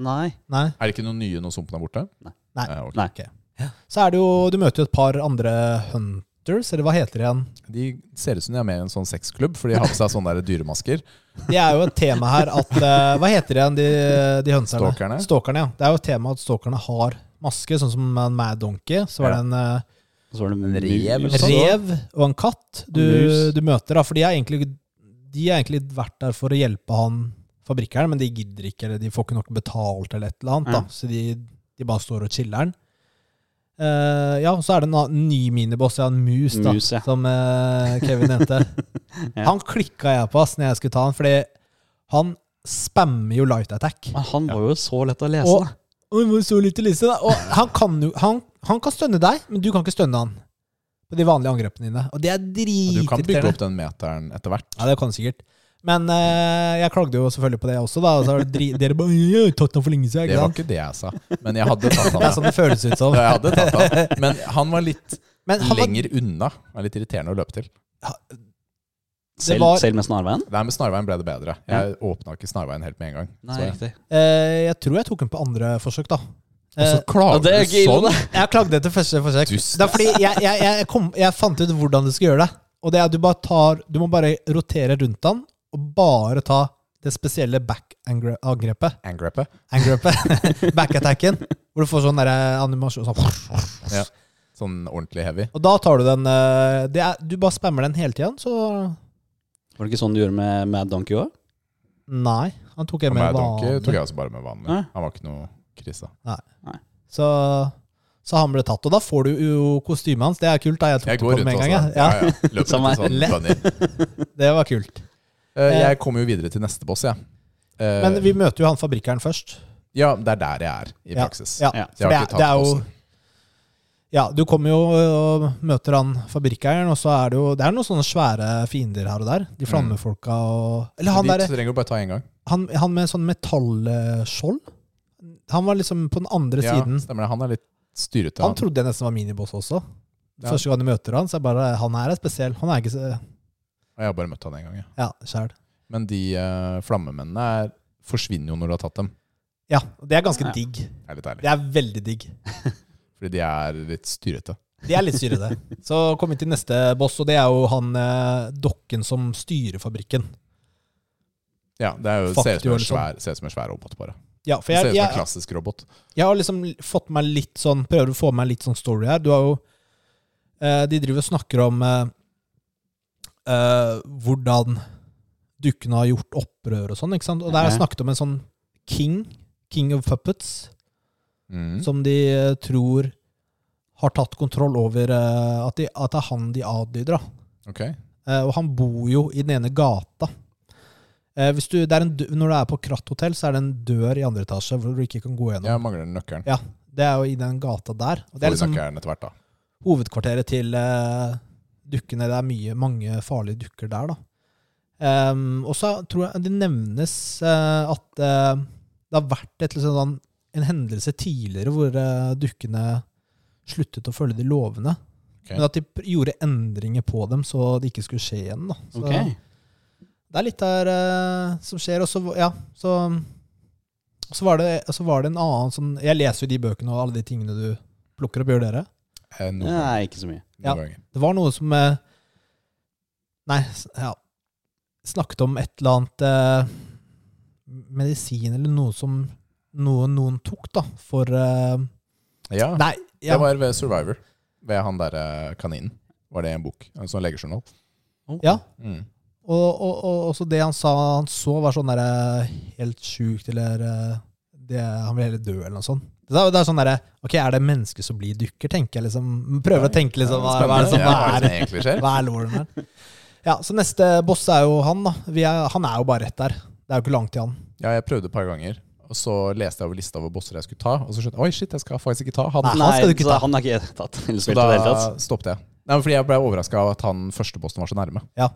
Nei. Nei. Er det ikke noen nye når sumpen er borte? Nei. Nei. Eh, ok. Nei. Så er det jo Du møter jo et par andre hunters, eller hva heter det igjen? De ser ut som de er med i en sånn sexklubb, for de har på seg sånne der dyremasker. Det er jo et tema her at eh, Hva heter det igjen, de, de hønserne? Stalkerne? Stalkerne, ja. Det er jo et tema at stalkerne har maske, sånn som en mad donkey. Så var det en eh, Og så var det En rev eller mus. sånn. rev og en katt du, Mus. du møter, da. For de har egentlig, de har egentlig vært der for å hjelpe han fabrikkeren, men de gidder ikke, eller de får ikke nok betalt eller et eller annet. Ja. da. Så de, de bare står og chiller'n. Eh, ja, og så er det en annen- ny miniboss, ja, en mus, da, Mus, ja. som eh, Kevin nevnte. Ja. Han klikka jeg på ass når jeg skulle ta han, fordi han spammer jo light attack. Men han var jo så lett å lese. Og, da. Oi, hvor så lite lyse, da. og han kan jo han, han kan stønne deg, men du kan ikke stønne han. På de vanlige angrepene dine. Og det er Du kan bygge dritirriterende. opp den meteren etter hvert. Ja, det kan du sikkert. Men eh, jeg klagde jo selvfølgelig på det også, da. Og så er det dri dere bare «Jeg har tatt han for lenge siden. Det Ikke var sant? ikke det jeg sa, men jeg hadde tatt Det er han. sånn det føles ut som. Ja, Jeg hadde tatt han. Men han var litt Men han var, lenger unna. Det er litt irriterende å løpe til. Selv, var- selv med snarveien? Der med snarveien ble det bedre. Jeg åpna ikke snarveien helt med en gang. Nei, Så- riktig. eh, jeg tror jeg tok den på andre forsøk, da. Og så Eh, klager Ja, det er du ikke ille, sånn! jeg klagde etter første forsøk. Dust. Det er fordi jeg, jeg, jeg, kom, jeg fant ut hvordan du skal gjøre det. Og det er at du bare tar Du må bare rotere rundt han, og bare ta det spesielle back-angrepet. Angrepet. angrepet, backattacken, hvor du får sånn der animasjon sånn. Ja. Sånn ordentlig heavy. Og da tar du den eh, det er, Du bare spammer den hele tiden, så Var det ikke sånn du gjorde med Mad Donkey òg? Nei. Han tok Og en mer meg donkey tok vanlig. jeg også bare med vanlig. Hæ? Han var ikke noe krisa. Så, så han ble tatt. Og da får du jo kostymet hans. Det er kult. da Jeg tok Jeg det går på rundt med en også. gang. jeg. Ja, ja. Løper Som rundt er sånn lett. bunny. Ja, det var kult. Eh, Jeg kommer jo videre til neste boss, jeg. Eh, Men vi møter jo han fabrikkeren først. Ja, det er der jeg er i praksis. Ja, Ja. for Jeg det har er, det ikke tatt altså. er jo bossen. ja, Du kommer jo og møter han fabrikkeieren, og så er det jo Det er noen sånne svære fiender her og der. De flammefolka og Eller han Mm. De derre trenger jo bare ta én gang. Han, han med sånn metallskjold? Han var liksom på den andre Ja, siden. stemmer det. Han er litt styrete. Han Han. trodde jeg nesten var miniboss også. Ja. Første gang du møter han, så er jeg bare Han her er spesiell. Han er ikke så Og Jeg har bare møtt han én gang. jeg. Ja, sjæl. Men de eh, flammemennene er, forsvinner jo når du har tatt dem. Ja, og det er ganske Ja. digg. Det er litt ærlig. Det er veldig digg. Fordi de er litt styrete. Det er litt styrete. Så kom vi til neste boss, og det er jo han eh, dokken som styrer fabrikken. Ja, det er jo, Fuck ser ut som you, en liksom. svær, ser ut som en svær robot, bare. Ja, for Det ser jeg, ut som en jeg, klassisk robot. jeg har liksom fått meg litt sånn Prøver å få meg litt sånn story her. Du har jo eh, De driver og snakker om eh, eh, hvordan dukkene har gjort opprør og sånn, ikke sant? Og der har jeg Mhm. snakket om en sånn king, king of puppets. Mm. som de eh, tror har tatt kontroll over eh, at, de, at det er han de adlyder. da. Ok. Eh, og han bor jo i den ene gata. Eh, hvis du, det er en, dø- når du er på Kratthotell, så er det en dør i andre etasje hvor du ikke kan gå gjennom. Jeg mangler nøkkelen. Ja, Det er jo i den gata der. Og det Får er liksom nøkkelen etter hvert, da. hovedkvarteret til eh, dukkene. Det er mye, mange farlige dukker der, da. Ehm, og så tror jeg det nevnes eh, at eh, det har vært et, liksom, sånn, en hendelse tidligere hvor eh, dukkene sluttet å følge de lovene. Ok. Men at de pr- gjorde endringer på dem, så det ikke skulle skje igjen. Da. Så Ok. Det er litt der eh, som skjer. Og så, ja, så, så, var det, så var det en annen sånn Jeg leser jo de bøkene og alle de tingene du plukker opp. Gjør dere? Eh, Noen, ganger. Nei, ikke så mye. ja. noen ganger. Det var noe som eh, Nei, s- ja Snakket om et eller annet eh, medisin eller noe som noe noen tok, da, for eh, Ja, Nei, ja, det var ved Survivor. Ved han derre kaninen. Var det en bok? En sånn legejournal. ja. Mm. Og, og, og også det han sa han så, var sånn derre helt sjukt, eller eh, det, Han ville heller dø, eller noe sånt. Det er, det er sånn derre Ok, er det mennesker som blir dukker, tenker jeg liksom. Prøver å tenke liksom hva, hva er det som Ja, hva er er det som egentlig skjer? Hva er loren her? Ja, så neste boss er jo han, da. Vi er, han er jo bare rett der. Det er jo ikke langt til han. Ja, jeg prøvde et par ganger. Og så leste jeg over lista over bosser jeg skulle ta, og så skjønte jeg oi shit, jeg skal faktisk ikke ta han. Nei, han skal du ikke så ta. han er ikke tatt. Eller så spilt i da det hele tatt. stoppet jeg. Nei, men Fordi jeg ble overraska av at han første bossen var så nærme. Ja.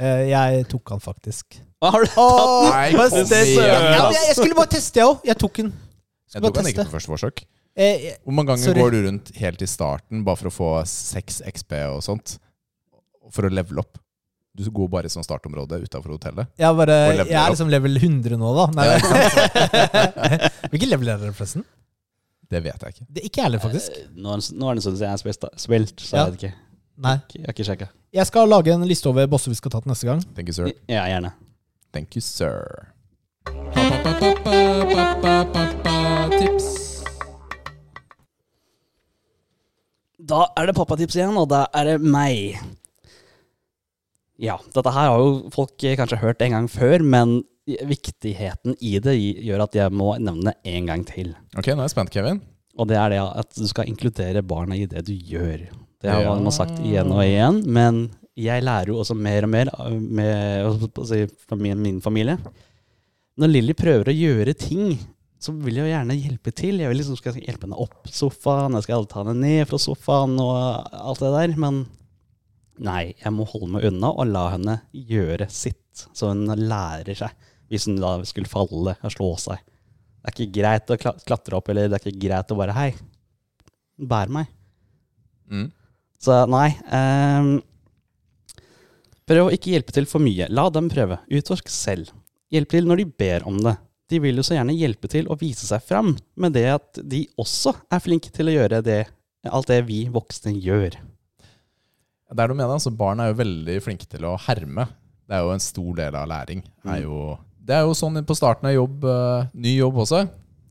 Eh, Jeg tok han faktisk. Hva har du tatt? Nei, kom Bare test- igjen, Ja, men ass. jeg, jeg skulle bare teste, jeg òg. Jeg tok den. Jeg Skal bare tok han ikke teste. på første forsøk. Eh, eh, Hvor mange ganger Sorry. går du rundt helt i starten bare for å få 6 XP og sånt? For å levele opp? Du går bare i sånn startområde utafor hotellet. Jeg, bare, Og leveler jeg er opp. liksom level 100 nå, da. Nei, Ja, Hvilken level er dere, forresten? Det vet jeg ikke. Det er ikke jeg heller, faktisk. Eh, Nå er det nå er det en stund siden jeg har spilt, spilt så Ja. jeg vet ikke. Nei. Jeg har ikke sjekka. Jeg skal lage en liste over bosser vi skal ta til neste gang. Thank you, sir. Ja, gjerne. Thank you, sir. Da er det pappatips igjen, og da er det meg. Ja, dette her har jo folk eh, kanskje hørt en gang før, men viktigheten i det gjør at jeg må nevne det en gang til. Ok, nå er jeg spent, Kevin. Og det er det at du skal inkludere barna i det du gjør. Det har Ja. man sagt igjen og igjen, men jeg lærer jo også mer og mer av- med altså, fra min, min familie. Når Lilly prøver å gjøre ting, så vil jeg jo gjerne hjelpe til. Jeg vil liksom skal hjelpe henne opp sofaen, jeg skal ta henne ned fra sofaen og alt det der. Men nei, jeg må holde meg unna og la henne gjøre sitt, så hun lærer seg. Hvis hun da skulle falle og slå seg. Det er ikke greit å kla- klatre opp, eller det er ikke greit å bare Hei, bær meg. Mm. Så nei. ehm, prøv å ikke hjelpe til for mye. La dem prøve. Utforsk selv. Hjelp til når de ber om det. De vil jo så gjerne hjelpe til og vise seg fram med det at de også er flinke til å gjøre det, alt det vi voksne gjør. Det er noe med det. altså Barn er jo veldig flinke til å herme. Det er jo en stor del av læring. Det er jo, det er jo sånn på starten av jobb, eh, ny jobb også.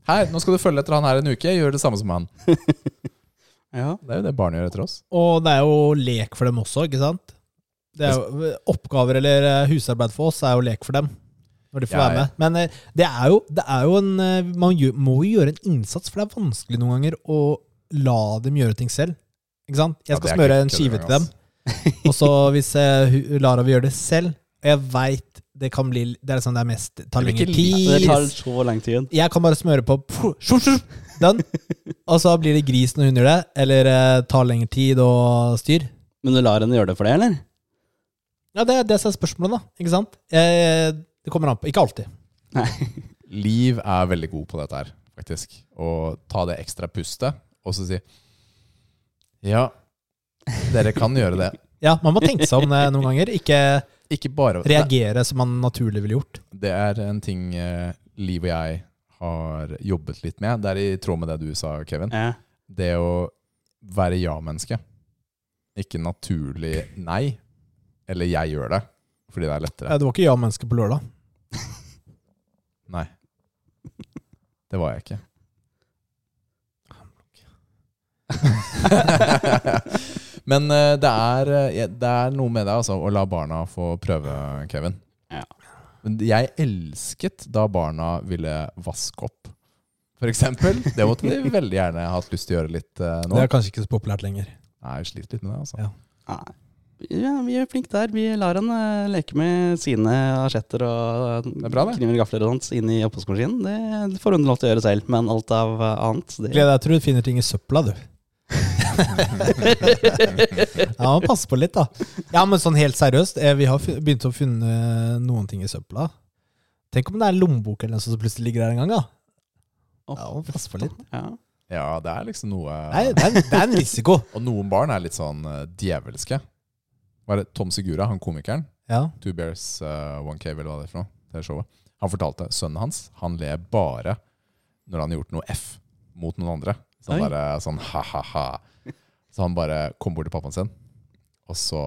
Her, nå skal du følge etter han her en uke. Gjør det samme som han. Ja. Det er jo det barn gjør etter oss. Og det er jo lek for dem også, ikke sant? Det er jo, oppgaver eller eh, husarbeid for oss er jo lek for dem. Når de får Ja, være ja. med. Men eh, det er jo, det er jo en eh, Man gjør, må jo gjøre en innsats, for det er vanskelig noen ganger å la dem gjøre ting selv. Ikke sant? Jeg Ja, skal det er smøre ikke en skive kødd til dem, og så hvis eh, hu- Lara vil gjøre det selv Og jeg veit det kan bli Det er sånn det er mest tar Det blir lengre ikke tid. Det tar så lang tid. Jeg kan bare smøre på pff, shup, shup, den, og så blir det gris når hun gjør det. Eller eh, tar lengre tid og styr. Men du lar henne gjøre det for det, eller? Ja, det, er det som er spørsmålet, da. Ikke sant? Eh, det kommer an på. Ikke alltid. Liv er veldig god på dette her, faktisk. Å ta det ekstra pustet, og så si Ja, dere kan gjøre det. Ja, man må tenke seg om eh, noen ganger. Ikke Ikke bare Reagere som man naturlig ville gjort. Det er en ting eh, Liv og jeg har jobbet litt med. Det er i tråd med det du sa, Kevin. Ja. Det å være ja-menneske. Ikke naturlig nei. Eller jeg gjør det, fordi det er lettere. Ja, Eh, Det var ikke ja-menneske på lørdag. Nei. Det var jeg ikke. Men eh, det er, eh, jeg- det er noe med det, altså, å la barna få prøve, Kevin. Ja. Men Jeg elsket da barna ville vaske opp, for eksempel. Det måtte de veldig gjerne hatt lyst til å gjøre litt eh, nå. Det er kanskje ikke så populært lenger. Nei, jeg sliter litt med det, altså. Ja. Nei. Ja, vi er flinke der. Vi lar han eh, leke med sine asjetter og eh, er bra, det. kniver og gafler og sånt inn i oppvaskmaskinen. Det får hun lov til å gjøre selv, men alt av eh, annet det. Gleder deg til du finner ting i søpla, du. ja, må passe på litt, da. Ja, men sånn helt seriøst, eh, vi har fu- begynt å finne eh, noen ting i søpla. Tenk om det er en lommebok eller noe sånt som plutselig ligger der en gang, da. Å, Ja, må passe på litt. Ja. Ja, det er liksom noe Nei, det er, en- det er en risiko. Og noen barn er litt sånn eh, djevelske. Hva er det? Tom Segura, han komikeren. Ja. Two Bears eh, One Cave, eller hva det er for noe. Det er showet. Han fortalte sønnen hans han ler bare når han har gjort noe F mot noen andre. Så han Oi. bare sånn ha-ha-ha. Så han bare kom bort til pappaen sin, og så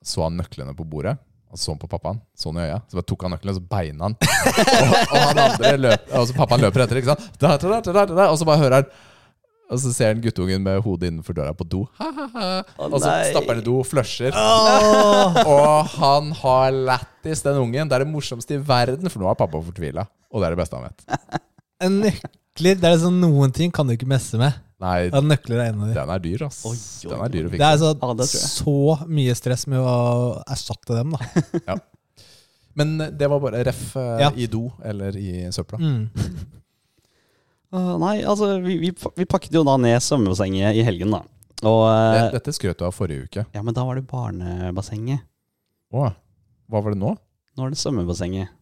så han nøklene på bordet. Og så han på pappaen, så han i øya, så bare tok han nøkkelen og så beina han. Og, og han andre løp, og så pappaen løper etter, ikke sant. Da, da, da, da, da, og så bare hører han Og så ser han guttungen med hodet innenfor døra på do. Ha, ha, ha. Å, Og så nei. Altså, stapper han i do, flusher. Åh, Og han har lættis, den ungen. Det er det morsomste i verden, for nå er pappa fortvila. Og det er det beste han vet. en nøkler, det er sånn noen ting kan du ikke messe med. Nei, Ja, nøkler er en av de. den er dyr, ass. Oi, oi, Den er dyr å Det fikse. er så, Ja, det tror jeg. så mye stress med å erstatte dem, da. Men det var bare ref eh, Ja. i do eller i søpla. Mm. Å, nei, altså, vi, vi, pa- vi pakket jo da ned svømmebassenget i helgen, da. Og eh, Det- Dette skrøt du av forrige uke. Ja, men da var det barnebassenget. Å, hva var det nå? Nå er det svømmebassenget.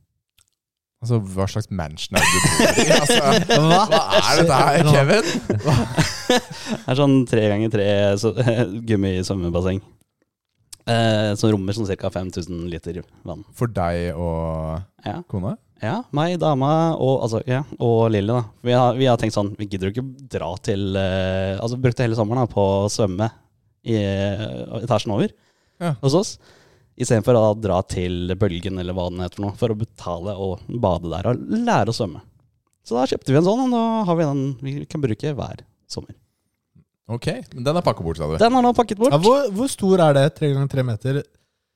Altså, Hva slags mansion er det du bor i? Altså, Hva? hva er dette her, Kevin? Det er sånn tre ganger tre så- gummisvømmebasseng. Eh, som rommer sånn ca. 5000 liter vann. For deg og Ja. kona? Ja, meg, dama og, altså, ja, og Lilly. da. Vi har, vi har tenkt sånn, vi gidder jo ikke dra til eh, Altså, vi brukte hele sommeren da, på å svømme i eh, etasjen over Ja. hos oss. Istedenfor å dra til Bølgen eller hva den heter for noe, for å betale og bade der og lære å svømme. Så da kjøpte vi en sånn, og nå har vi den vi kan bruke hver sommer. Ok, men den er pakka bort, sa du. Den er nå pakket bort. Ja, hvor, hvor stor er det? Tre ganger tre meter?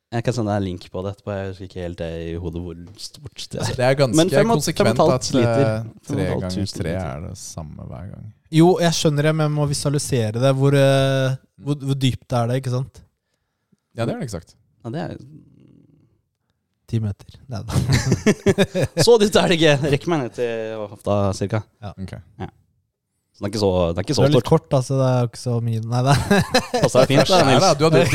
Jeg kan sende deg en link på det etterpå. Jeg husker ikke helt det i hodet hvor stort det er. Det er ganske Men fem og- fem og konsekvent et at halvt liter. eh, Fem og tre et halvt ganger tusen tre liter. er det samme hver gang. Jo, jeg skjønner det, men jeg må visualisere det. Hvor, eh, hvor, hvor dypt er det, ikke sant? Ja, det er det ikke sagt. Ja, det er... Ti meter. Nei da. Så dypt er det ikke! Rekker meg ned til hofta, cirka. Ok. Så det er ikke så, det er ikke Det så er litt stort. kort, altså. Det er jo ikke så mye Nei, det er Passer deg fint, da, Skjær, da. Nils. Du hadde jo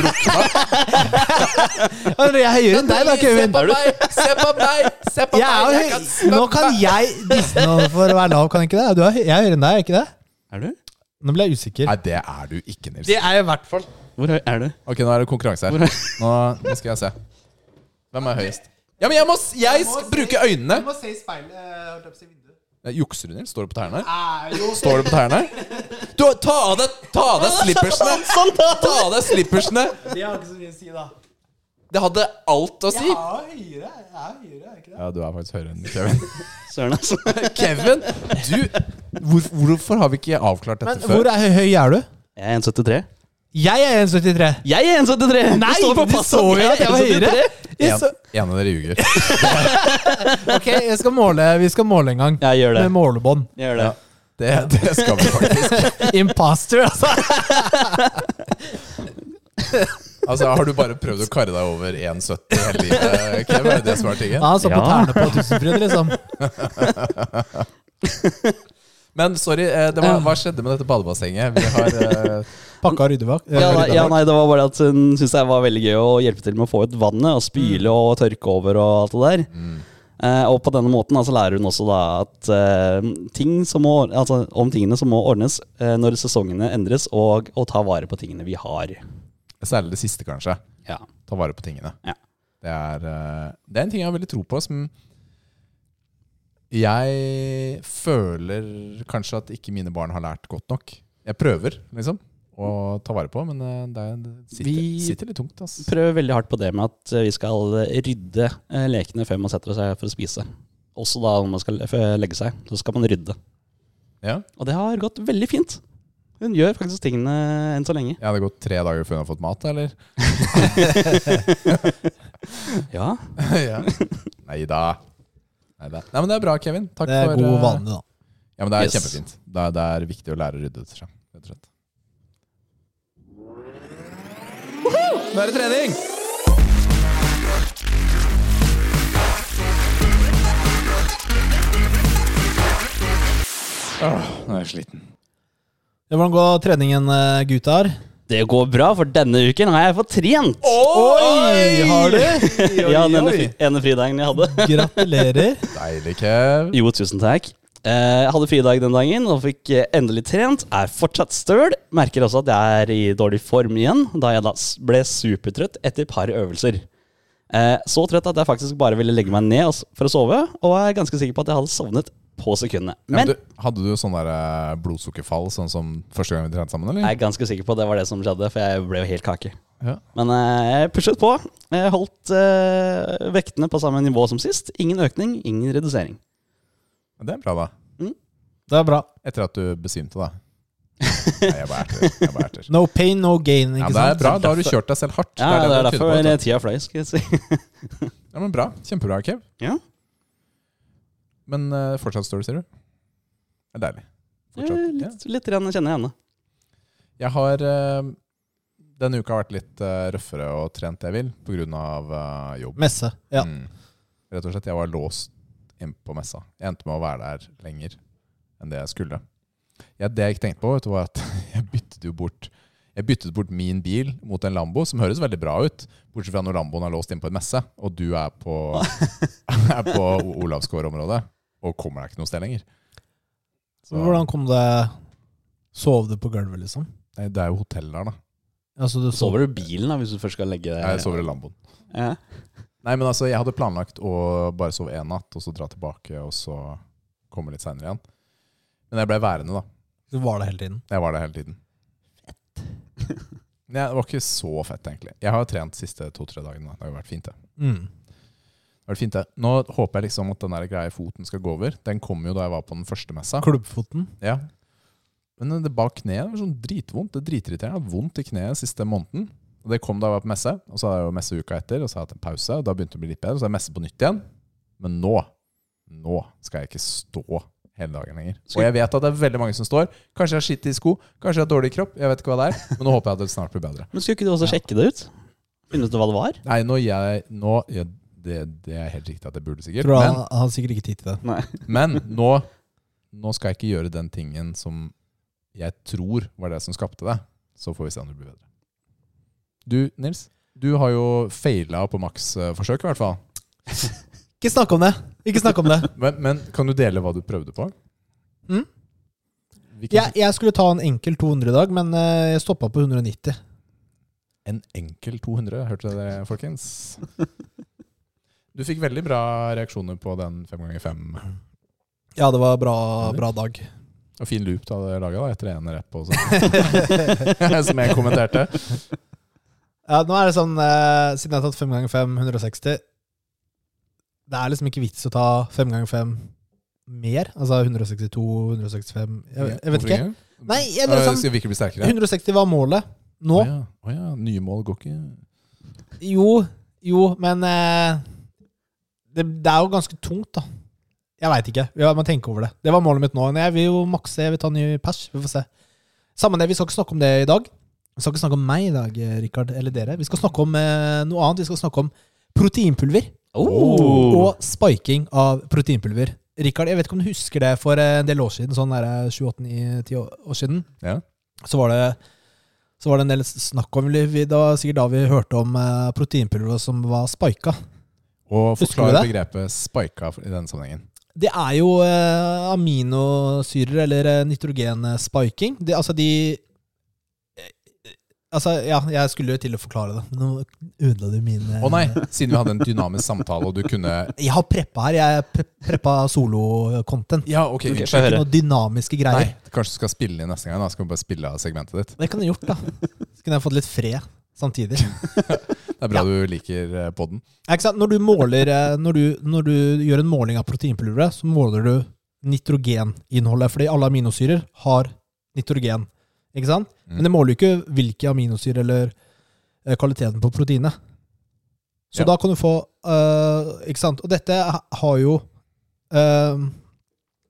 drukna. Ja, men Jeg er høyere enn deg, da, Kevin! meg! Se på meg! Se på Jeg er jo høy... Nå kan jeg disse noen for å være lav, kan jeg ikke det? Du er høy... Jeg er høyere enn deg, er jeg ikke det? Er du? Nå ble jeg usikker. Nei, det er du ikke, Nils. er jeg i hvert fall. Hvor høy er du? Ok, nå er det konkurranse her. Nå, nå skal jeg se. Hvem er høyest? Ja, men jeg må, s- jeg skal bruke øynene! må se i speilet. Eh, Jukser du, Nils? Står du på tærne? Ah, jo Står du på tærne? Du, ta av deg ta av deg slippersene! Sånn, da! Ta av deg slippersene! Det har ikke så mye å si, da. Det hadde alt å si. høyere. Jeg er høyere, er jeg ikke Ja, du er faktisk høyere enn Kevin. Søren, altså. Kevin, du hvor, Hvorfor har vi ikke avklart dette Men før? hvor er, høy er du? Jeg er 1,73. Jeg er 1,73. Jeg er 1,73! Nei, Det står på du passet så jo at jeg var 1,73. høyere! Jeg En, så, en av dere ljuger. ok, jeg skal måle, vi skal måle en gang. Jeg gjør det. Med målebånd. Jeg gjør det. Det, det skal vi faktisk. Imposter, altså. Altså, Har du bare prøvd å karre deg over 1,70 hele livet? Kev? Er det det som er tingen? Ja, han så på Ja. tærne på Tusenfryd, liksom. Men sorry, eh, det var, hva skjedde med dette badebassenget? Vi har eh, Pakka ryddebakk. Ja, Ja, nei, ja, nei, det var bare at hun syntes det var veldig gøy å hjelpe til med å få ut vannet og spyle Mm. og tørke over og alt det der. Eh, og på denne måten da, så lærer hun også da at eh, ting som må, altså, om tingene som må ordnes eh, når sesongene endres, og å ta vare på tingene vi har. Særlig det siste, kanskje. Ja. Ta vare på tingene. Ja. Det er, eh, det er en ting jeg har veldig tro på, som jeg føler kanskje at ikke mine barn har lært godt nok. Jeg prøver, liksom, å ta vare på, men eh, det er- det sitter, Vi- sitter litt tungt. ass. Prøver veldig hardt på det med at eh, vi skal eh, rydde eh, lekene før man setter seg for å spise. Også da når man skal eh, før legge seg, så skal man rydde. Ja. Og det har gått veldig fint. Hun gjør faktisk tingene enn så lenge. Jeg hadde gått tre dager før hun har fått mat, eller? Ja, ja. Nei da. Nei da. Nei, men det er bra, Kevin. Takk Det er for god eh, vane, da. Ja, men det er Yes. kjempefint. Det er, det er viktig å lære å rydde etter seg. Rett og slett. Nå er det trening! Åh, nå er jeg sliten. Ja, Hvordan går treningen, eh, gutter? Det går bra, for denne uken har jeg fått trent! Oi! Har du? ja, den ene, fri, ene fridagen jeg hadde. Gratulerer. Deilig, Kev. Jo, tusen takk. Eh, Jeg hadde fridag den dagen og fikk eh, endelig trent. Er fortsatt støl. Merker også at jeg er i dårlig form igjen, da jeg da s- ble supertrøtt etter et par øvelser. Eh, Så trøtt at jeg faktisk bare ville legge meg ned og s- for å sove, og jeg er ganske sikker på at jeg hadde sovnet på sekundet. Ja, men Men du, hadde du sånn der eh, blodsukkerfall sånn som første gang vi trente sammen, jeg eller? er ganske sikker på at det var det som skjedde, for jeg ble jo helt kake. Ja. Men eh, jeg pushet på. Jeg holdt eh, vektene på samme nivå som sist. Ingen økning, ingen redusering. Det er bra, da. Det er bra. Etter at du besvimte, da. Nei, jeg bare erter. Jeg bare erter. No pain, no gain, Ja, ikke men det er sant? bra. Da har du kjørt deg selv hardt. Ja, det er det tyder derfor på, altså? vet du. tida fløy, skal jeg si. Ja, men bra. Kjempebra, Kev. Ja. Men eh, fortsatt står det, sier du? Det er deilig. Ja, Fortsatt. Ja. Eh, litt, litt grann kjenner jeg henne. Jeg har eh, denne uka vært litt eh, røffere og trent det jeg vil, pga. Uh, jobb. Messe. Ja. Mm. Rett og slett, jeg var låst inn på messa. Jeg endte med å være der lenger enn det jeg skulle. Ja, det jeg ikke tenkte på, vet du, var at jeg byttet jo bort jeg byttet bort min bil mot en Lambo, som høres veldig bra ut, bortsett fra når Lamboen er låst inn på en messe, og du er på, er på O- Olavsgård-området, og kommer deg ikke noe sted lenger. Så- Hvordan kom det Sov du på gulvet, liksom? Nei, Det er jo hotell der, da. Altså, du sov Sover du i bilen da, hvis du først skal legge deg? Jeg sover i Lamboen. Ja. Nei, men altså, jeg hadde planlagt å bare sove én natt, og så dra tilbake, og så komme litt seinere igjen. Men jeg ble værende, da. Du var der hele tiden. Jeg var der hele tiden. Fett. Nei, det var ikke så fett, egentlig. Jeg har trent siste to-tre dagene. da. Det har jo vært fint, det. Mm. det, har vært fint, det. Nå håper jeg liksom at den der greia i foten skal gå over. Den kom jo da jeg var på den første messa. Klubbfoten. Ja. Men eh, det bak kneet var sånn dritvondt. Det er dritirriterende. Jeg har hatt vondt i kneet siste måneden. Og det kom da jeg var på messe, og så hadde jeg jo messe uka etter, og så har jeg hatt en pause, og da begynte det å bli litt bedre, og så er jeg messe på nytt igjen. Men nå, nå skal jeg ikke stå hele dagen lenger. Og Skal- jeg vet at det er veldig mange som står. Kanskje jeg har skitt i sko, kanskje jeg har dårlig kropp, jeg vet ikke hva det er, men nå håper jeg at det snart blir bedre. Men skulle ikke du også sjekke det ut? Finne ut hva det var? Nei, nå jeg, nå, jeg, det, det er helt riktig at jeg burde sikkert, Tror han, men, han har sikkert ikke tid til det. Nei. men nå, nå skal jeg ikke gjøre den tingen som jeg tror var det som skapte det. Så får vi se om det blir bedre. Du, Nils, du har jo feila på Max-forsøk, i hvert fall. Ikke snakk om det! Ikke snakk om det. Men, men kan du dele hva du prøvde på? Mm. Hvilken, Jeg, jeg skulle ta en enkel 200 i dag, men eh, jeg stoppa på 190. En enkel 200, hørte dere det, folkens? Du fikk veldig bra reaksjoner på den 5x5. Ja, det var bra, bra dag. Og fin loop du hadde laga etter én rep, og sånn. som jeg kommenterte. Ja, nå er det sånn, eh, Siden jeg har tatt 5 ganger 5, 160 Det er liksom ikke vits å ta 5 ganger 5 mer. Altså 162, 165 Jeg, jeg vet ikke. Nei, jeg bare sånn- Eh, Skal vi ikke bli sterkere? 160 var målet. Nå Å ja. å ja. Nye mål går ikke Jo, jo, men eh, det, det er jo ganske tungt, da. Jeg veit ikke. Ja, man tenker over det. Det var målet mitt nå. Men jeg vil jo makse. Jeg vil ta ny pers. Vi får se. Samme det, vi skal ikke snakke om det i dag. Vi skal ikke snakke om meg i dag, eh, Rikard, eller dere. Vi skal snakke om eh, noe annet. Vi skal snakke om proteinpulver. Oh. Og spiking av proteinpulver. Rikard, jeg vet ikke om du husker det for eh, en del år siden, sånn 7-8-10 år siden Ja. så var det så var det en del snakk om vi- vi- Det var sikkert da vi hørte om eh, proteinpulver som var spika. Og Husker du forklare begrepet 'spika' i denne sammenhengen. Det er jo eh, aminosyrer, eller eh, nitrogenspiking. Det, altså de Altså, ja, jeg skulle jo til å forklare det. men Nå ødela du mine Å nei, siden vi hadde en dynamisk samtale, og du kunne Jeg har preppa her. Jeg har pre- preppa solo-content. Ja, ok, Ok, unnskyld. få høre. Ikke noen dynamiske Nei, greier. kanskje du skal spille inn neste gang. da Skal vi bare spille av segmentet ditt. Det kan jeg gjort, da. Så kunne jeg fått litt fred samtidig. Det er bra du liker eh, podden. Ja, Ikke sant? Når du, måler, eh, når, du, når du gjør en måling av proteinpulveret, så måler du nitrogeninnholdet, fordi alle aminosyrer har nitrogen. Ikke sant? Mm. Men det måler jo ikke hvilke aminosyrer eller eh, kvaliteten på proteinet. Så Ja. da kan du få eh, Ikke sant? Og dette ha- har jo eh,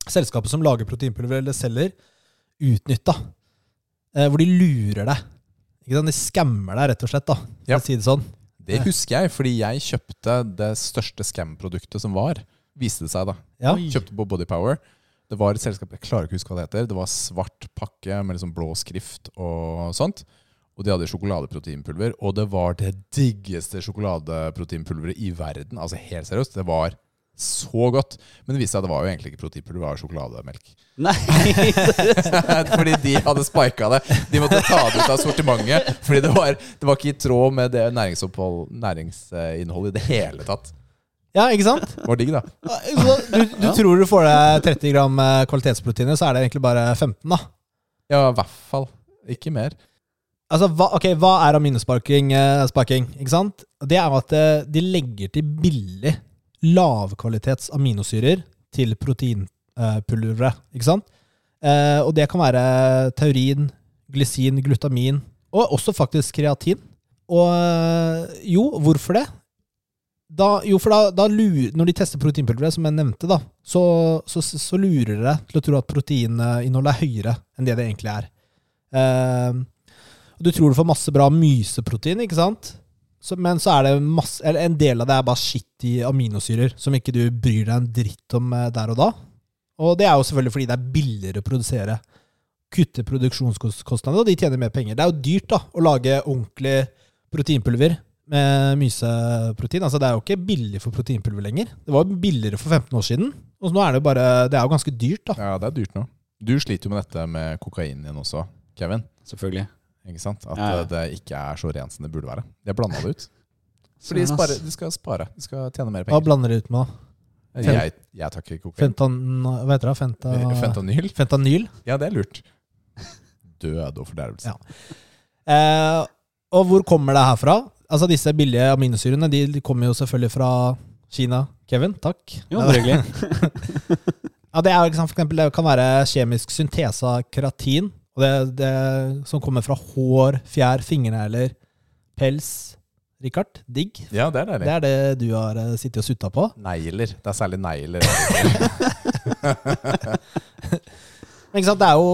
selskapet som lager proteinpulver eller selger, utnytta. Eh, hvor de lurer deg. Ikke sant? De skammer deg, rett og slett. da, for Ja. å si det sånn. Det husker jeg, fordi jeg kjøpte det største scam-produktet som var. Viste det seg, da. Ja. Kjøpte på Bodypower. Det var et selskap jeg klarer ikke å huske hva det heter. Det var svart pakke med liksom blå skrift og sånt. Og de hadde sjokoladeproteinpulver, og det var det diggeste sjokoladeproteinpulveret i verden. Altså helt seriøst, det var så godt. Men det viste seg at det var jo egentlig ikke proteinpulver, det var sjokolademelk. Nei! fordi de hadde spika det. De måtte ta det ut av sortimentet. Fordi det var, det var ikke i tråd med det næringsopphold- næringsinnholdet i det hele tatt. ja, ikke sant? Det var digg, da. Så du, du tror du får deg 30 gram eh, kvalitetsproteiner, så er det egentlig bare 15, da. Ja, i hvert fall. Ikke mer. Altså, hva, ok, hva er aminosparking? eh, sparking, ikke sant? Det er jo at eh, de legger til billig lavkvalitets aminosyrer til proteinpulveret, ikke sant? Eh, og det kan være taurin, glysin, glutamin, og også faktisk kreatin. Og eh, jo, hvorfor det? Da, jo, for da, da lurer, når de tester proteinpulveret, som jeg nevnte, da, så, så, så lurer det til å tro at proteininnholdet er høyere enn det det egentlig er. Eh, og du tror du får masse bra myseprotein, ikke sant? Så, men så er det masse, eller en del av det er bare skittig aminosyrer som ikke du bryr deg en dritt om eh, der og da. Og det er jo selvfølgelig fordi det er billigere å produsere. Kutte produksjonskostnadene, og de tjener mer penger. Det er jo dyrt da, å lage ordentlig proteinpulver med myseprotein. Altså, det er jo ikke billig for proteinpulver lenger. Det var jo billigere for 15 år siden. Og så nå er det jo bare, det er jo ganske dyrt da. Ja, det er dyrt nå. Du sliter jo med dette med kokain igjen også, Kevin. Selvfølgelig. Ikke sant? At Ja, ja. eh, det ikke er så rent som det burde være. De har blanda det ut. For de, Søren, Sånn, ass. sparer, de skal spare. De skal tjene mer Hva penger. blander de ut med da? Jeg, jeg tar ikke kokain. Eh, Fentan, hva heter det? Fenta- Fentanyl? Fentanyl? Ja, det er lurt. Død og fordervelse. Ja. Eh, og hvor kommer det her fra? Altså Disse billige aminosyrene de, de kommer jo selvfølgelig fra Kina. Kevin, takk. Jo, bare hyggelig. Ja, det, er, jo ikke sant, for eksempel, det kan være kjemisk syntese av keratin, og det, det, som kommer fra hår, fjær, fingernegler, pels. Rikard, digg. Ja, det er Det deilig. er det du har eh, sittet og sutta på. Negler. Det er særlig negler. Men ikke sant, det er jo,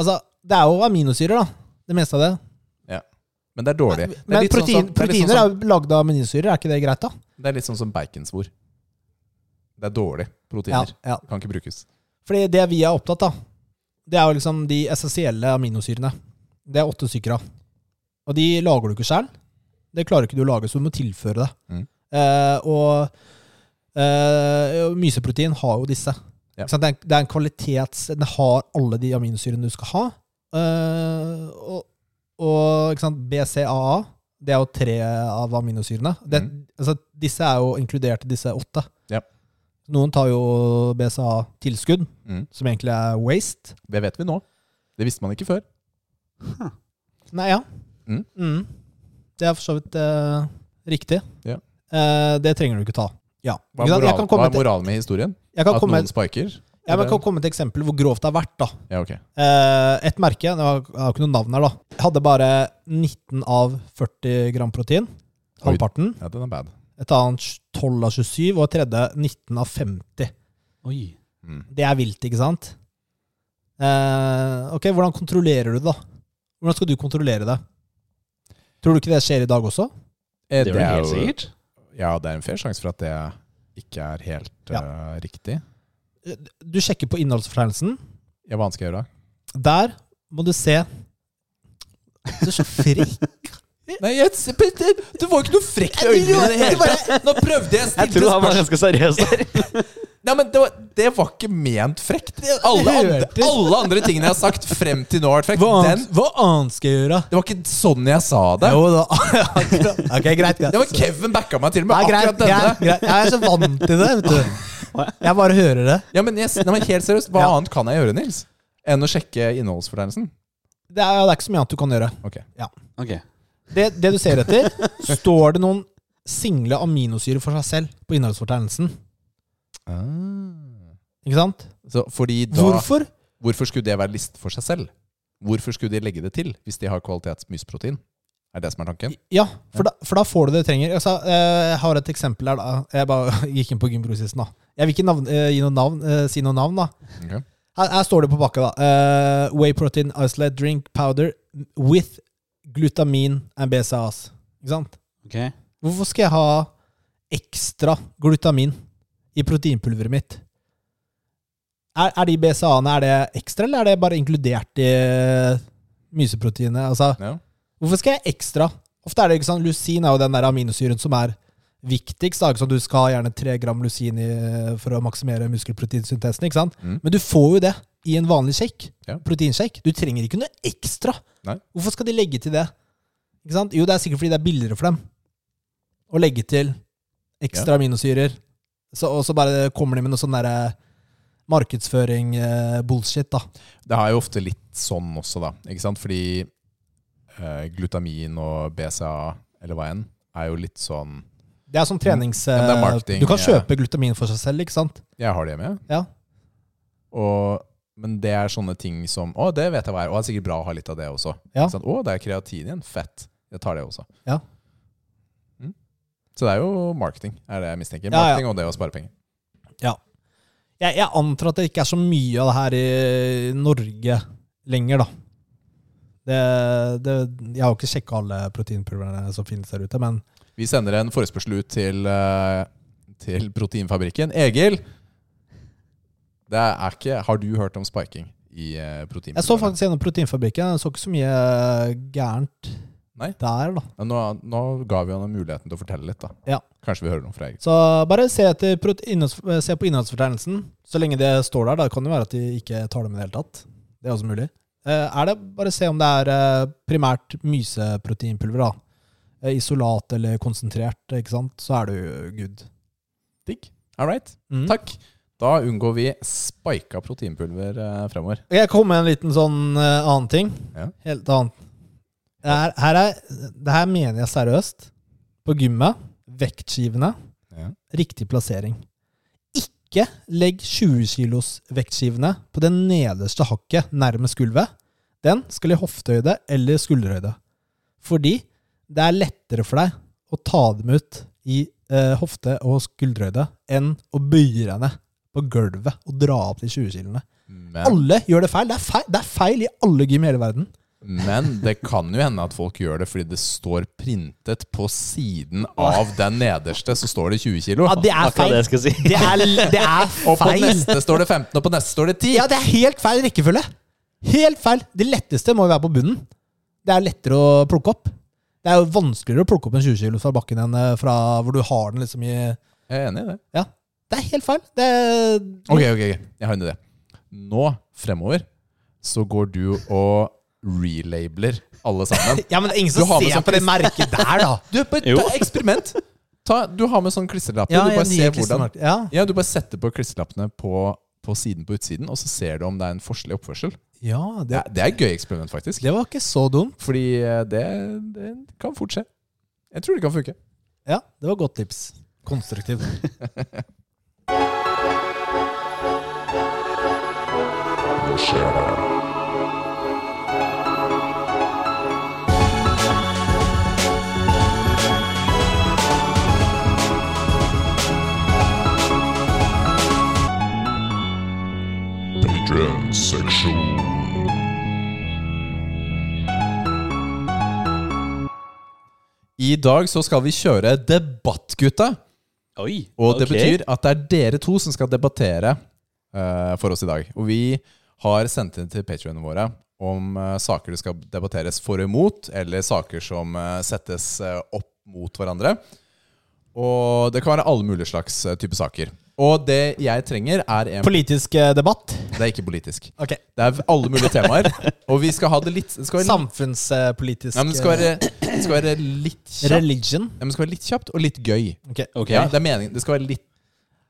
altså, det er jo aminosyrer, da. Det meste av det. Men det er dårlig. Det er Men litt sånn protein, som- det er litt proteiner sånn er som- jo lagd av aminosyrer, er ikke det greit, da? Det er litt sånn som baconsvor. Det er dårlig Ja, proteiner. ja. Kan ikke brukes. Fordi det vi er opptatt av, det er jo liksom de essensielle aminosyrene. Det er åtte stykker av. Og de lager du ikke sjøl. Det klarer ikke du å lage, så du må tilføre det. Mm. Eh, og eh, og myseprotein har jo disse. Ja. Ikke sant? Det, er, en- det er en kvalitets... Den har alle de aminosyrene du skal ha. Eh, og og ikke sant? BCAA, det er jo tre av aminosyrene. Det, Mm. altså, disse er jo inkludert i disse åtte. Ja. Noen tar jo BCA-tilskudd, Mm. som egentlig er waste. Det vet vi nå. Det visste man ikke før. Nei, ja. Mm. Det er for så vidt eh, riktig. Ja. Eh, det trenger du ikke ta. Ja. Hva Ikke er sant? Jeg kan moralen, komme hva er til- moralen med historien? jeg kan At komme- noen spiker? ja, men jeg kan komme til et eksempel hvor grovt det har vært. da. Ja, ok. Eh, et merke, jeg har, jeg har ikke noe navn her, da. Jeg hadde bare 19 av 40 gram protein. Oi. Halvparten. Ja, den er bad. Et annet 12 av 27, og et tredje 19 av 50. Oi. Mm. Det er vilt, ikke sant? Eh, ok, hvordan kontrollerer du det, da? Hvordan skal du kontrollere det? Tror du ikke det skjer i dag også? Eh, Det var det helt sikkert. Ja, det er en fair sjanse for at det ikke er helt eh, riktig. Du sjekker på innholdsfortegnelsen. Ja, hva annet skal jeg gjøre da? Der må du se Du er så frekk. Nei, jeg, det var ikke noe frekt i øynene i det hele tatt! Nå prøvde jeg å Jeg tror han var ganske seriøs der. Nei, men det var, det var ikke ment frekt. Det- Alle andre, hørtes. alle andre tingene jeg har sagt frem til nå, har vært frekt. Hva Den, annet, hva annet skal jeg gjøre? det var ikke sånn jeg sa det. Jo da. Akkurat. ok, greit. greit. Det var Kevin backa meg til med Nei, greit, akkurat denne. greit, greit. Jeg er så vant til det, vet du. Jeg bare hører det. Ja, men, jeg, nei, men helt seriøst, Hva Ja. annet kan jeg gjøre, Nils? Enn å sjekke innholdsfortegnelsen? Det er, det er ikke så mye annet du kan gjøre. Ok. Ok. Det, det du ser etter, står det noen single aminosyrer for seg selv på innholdsfortegnelsen. Ah. Ikke sant? Så fordi da, hvorfor? Hvorfor? skulle det være liste for seg selv? Hvorfor skulle de legge det til hvis de har kvalitetsmysprotein? Er det som er tanken? Ja, for da, for da får du det du trenger. Altså, eh, jeg har et eksempel her. da. Jeg bare gikk inn på gymprosisten. da. Jeg vil ikke navn, eh, gi noen navn, eh, si noen navn, da. Ok. Her, her står det på pakka, da. Eh, whey protein isolate drink powder with glutamin and BCAAs. Ikke sant? ok. Hvorfor skal jeg ha ekstra glutamin i proteinpulveret mitt? Er, er de BCA-ene er det ekstra, eller er det bare inkludert i eh, myseproteinet? Altså, Ja. hvorfor skal jeg ekstra? Ofte er det ikke sånn, Lusin er jo den der aminosyren som er viktigst. Da. ikke sant? Du skal ha gjerne tre gram lusin i, for å maksimere muskelproteinsyntesen. ikke sant? Mm. Men du får jo det i en vanlig shake. Ja. Proteinshake. Du trenger ikke noe ekstra. Nei. Hvorfor skal de legge til det? Ikke sant? Jo, det er sikkert fordi det er billigere for dem å legge til ekstra aminosyrer. Så, og så bare kommer de med noe sånn derre markedsføring-bullshit, da. Det er jo ofte litt sånn også, da. Ikke sant? Fordi eh, glutamin og BCA, eller hva enn, er jo litt sånn Det er sånn trenings... Ja, men det er marketing, du kan ja. kjøpe glutamin for seg selv, ikke sant? Jeg har det hjemme, jeg. Ja. Og, men det er sånne ting som Å, det vet jeg hva er. Og det er sikkert bra å ha litt av det også. Ja. Ikke sant? Å, det er kreatin igjen. Fett. Jeg tar det også. Ja. Mm. Så det er jo marketing, er det jeg mistenker. Ja, ja. Marketing og det å spare penger. Jeg, jeg antar at det ikke er så mye av det her i Norge lenger, da. Det, det, jeg har jo ikke sjekka alle proteinpulverne som finnes der ute, men Vi sender en forespørsel ut til, eh, til Proteinfabrikken. Egil! Det er ikke Har du hørt om spiking i eh, protein? jeg så faktisk gjennom proteinfabrikken. Jeg så ikke så mye gærent Nei. der, da. Ja, Nå, nå ga vi han muligheten til å fortelle litt, da. Ja. Kanskje vi hører noe fra Egil. Så bare se, etter, prote- innholds- se på innholdsfortegnelsen. Så lenge det står der, da kan det være at de ikke tar det med i det hele tatt. Det er også mulig. Eh, Er det bare se om det er eh, primært myseproteinpulver, da. Eh, Isolat eller konsentrert, ikke sant. Så er du good. Digg. All right. Mm. Takk. Da unngår vi spika proteinpulver eh, fremover. Jeg kom med en liten sånn eh, annen ting. Ja. Helt annet. Det her, her er, det her mener jeg seriøst. På gymmet, vektskivene, Ja. riktig plassering. Ikke legg 20 kilos vektskivene på det nederste hakket nærmest gulvet. Den skal i hoftehøyde eller skulderhøyde. Fordi det er lettere for deg å ta dem ut i eh, hofte- og skulderhøyde enn å bøye deg ned på gulvet og dra opp de 20 kilene. Men, Alle gjør det feil. Det er feil, det er feil i alle gym i hele verden. men det kan jo hende at folk gjør det fordi det står printet på siden av den nederste, så står det 20 kilo. Ja, det er Akkurat feil. det jeg skulle si. Det er, det er Og på feil. neste står det 15, og på neste står det 10. Ja, det er helt feil rekkefølge. Helt feil. Det letteste må jo være på bunnen. Det er lettere å plukke opp. Det er jo vanskeligere å plukke opp en 20 kilo fra bakken enn eh, fra hvor du har den liksom i Jeg er enig i det. Ja. Det er helt feil. Det er, Ok, ok, ok. jeg har en idé. Nå fremover så går du og relabler alle sammen. Ja, men det er ingen Du som har med ser sånn på det merket der, da. Du, bare Jo. ta eksperiment! Ta, du har med sånn klistrelapper. du bare ser hvordan Ja. Ja, du bare setter på klisterlappene på, på siden på utsiden, og så ser du om det er en forskjellig oppførsel. ja, Det det, er, det er et gøy eksperiment, faktisk. det var ikke så dumt. Fordi eh, det, det kan fort skje. Jeg tror det kan funke. Ja, det var godt tips. Konstruktiv. Patreon section. I dag så skal vi kjøre Debatt, gutta. Oi. Og det ok. betyr at det er dere to som skal debattere eh, for oss i dag. Og vi har sendt inn til patrionene våre om eh, saker det skal debatteres for og imot, eller saker som eh, settes eh, opp mot hverandre. Og det kan være alle mulige slags eh, type saker. Og det jeg trenger, er en Politisk eh, debatt. Det er ikke politisk. Ok. Det er alle mulige temaer. Og vi skal ha det litt det skal være, Samfunnspolitisk ja, men det skal være, det skal være litt eh, kjapt. Religion. Ja, men det skal være litt kjapt og litt gøy. Ok. Ok. Ja, det er meningen. Det skal være litt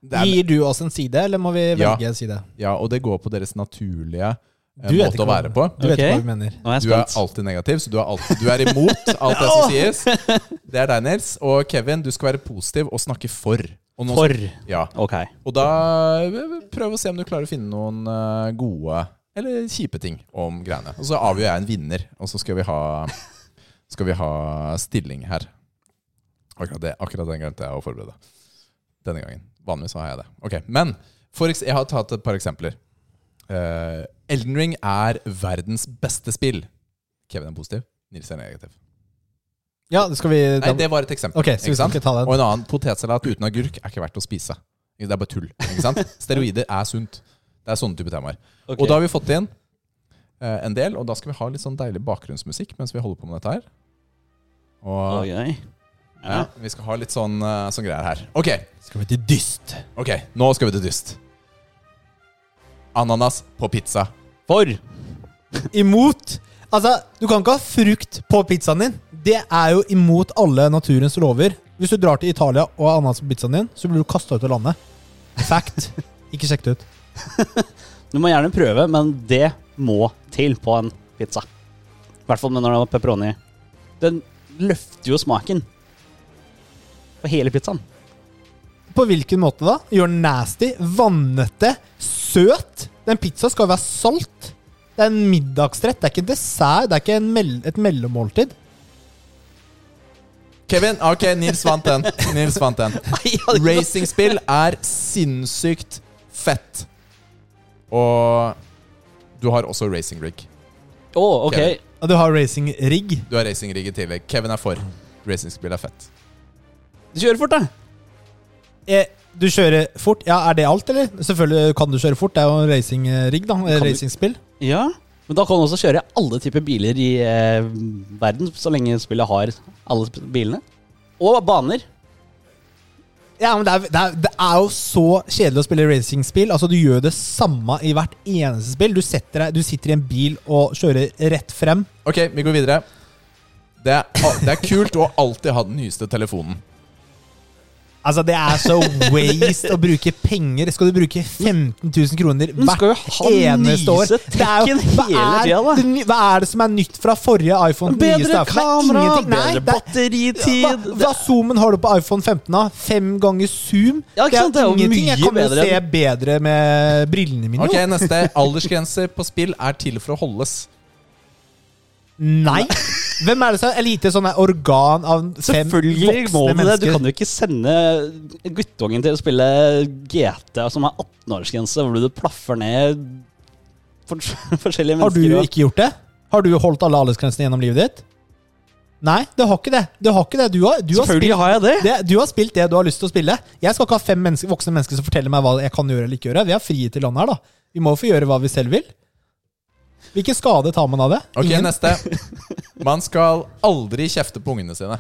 det er, Gir du oss en side, eller må vi Ja. velge en side? Ja, og det går på deres naturlige eh, Du vet måte ikke å hva- være på. Du vet Ok. ikke hva vi mener. Nå er jeg Du er spent. alltid negativ, så du er, alltid, du er imot alt det som sies. Det er deg, Nils. Og Kevin, du skal være positiv og snakke for. Og nå- For. Ja. Ok. Og da eh, prøv å se om du klarer å finne noen eh, gode eller kjipe ting om greiene. Og så avgjør jeg en vinner, og så skal vi ha, skal vi ha stilling her. Akkurat, det, akkurat den glemte jeg å forberede. Denne gangen. Vanligvis har jeg det. Ok, Men for eks- jeg har tatt et par eksempler. Eh, Elden Ring er verdens beste spill. Kevin er positiv, Nils er negativ. Ja, det skal vi Nei, det var et eksempel. Ok, så vi ikke skal sant? ikke ta den. Og en annen potetsalat uten agurk er ikke verdt å spise. Det er bare tull. ikke sant? Steroider er sunt. Det er sånne type temaer. Og Ok. da har vi fått inn eh, en del, og da skal vi ha litt sånn deilig bakgrunnsmusikk mens vi holder på med dette her. Og Ok. ja, vi skal ha litt sånn, eh, sånn greier her. Ok, Skal vi til dyst? ok, nå skal vi til dyst. Ananas på pizza. For. Imot Altså, du kan ikke ha frukt på pizzaen din. Det er jo imot alle naturens lover. Hvis du drar til Italia og har ananas på pizzaen din, så blir du kasta ut av landet. Fact. Ikke sjekk det ut. Du må gjerne prøve, men det må til på en pizza. I hvert fall med når det er pepperoni. Den løfter jo smaken på hele pizzaen. På hvilken måte da? Gjør den nasty, vannete, søt. Den pizza skal jo være salt. Det er en middagsrett. Det er ikke en dessert. Det er ikke en mell et mellommåltid. Kevin, ok, Nils vant den. Nils vant den. Racingspill er sinnssykt fett. Og du har også racing rig. Å, ok. Kevin. Og du har racing rigg. Du har racing rig i tillegg. Kevin er for. Racingspill er fett. Kjør fort, da. Eh, Du kjører fort. Ja, er det alt, eller? Selvfølgelig kan du kjøre fort. Det er jo en racing rigg, da. Eh, du- Racingspill. Ja. Men da kan du også kjøre alle typer biler i eh, verden, så lenge spillet har alle sp- bilene. Og baner. Ja, men det er, det, er, det er jo så kjedelig å spille racingspill. Altså, du gjør det samme i hvert eneste spill. Du, setter deg, du sitter i en bil og kjører rett frem. Ok, vi går videre. Det er, det er kult å alltid ha den nyeste telefonen. Altså, det er så waste å bruke penger. Skal du bruke 15 000 kroner Men hvert skal jo ha eneste år? nyeste Det er jo- tekken hele hva, er, tida, da. det ny- hva er det som er nytt fra forrige iPhone? den nyeste Bedre iPhone? Det er kamera, ingenting. Nei, bedre det er- Hva, batteritid. hva zoomen har du på iPhone 15? da? Fem ganger zoom? Ja, ikke sant? Det er jo mye Jeg kan jo bedre se bedre med brillene mine. Ok, jo. Neste. Aldersgrenser på spill er til for å holdes. Nei. Hvem er det som er lite sånn her organ av fem Selvfølgelig må voksne du det. Du mennesker? kan jo ikke sende guttungen til å spille GT som er 18-årsgrense, hvor du plaffer ned for, forskjellige Har du mennesker. og- ikke gjort det? Har du holdt alle aldersgrensene gjennom livet ditt? Nei, du har ikke det. Du har ikke det. Du har, du har, Selvfølgelig spilt, har jeg det. det, du har spilt det du har lyst til å spille. Jeg skal ikke ha fem mennesker, voksne mennesker som forteller meg hva jeg kan gjøre eller ikke gjøre. Vi har frihet i landet her, da. Vi må få gjøre hva vi selv vil. Hvilken skade tar man av det? Ok, Ingen. neste. Man skal aldri kjefte på ungene sine.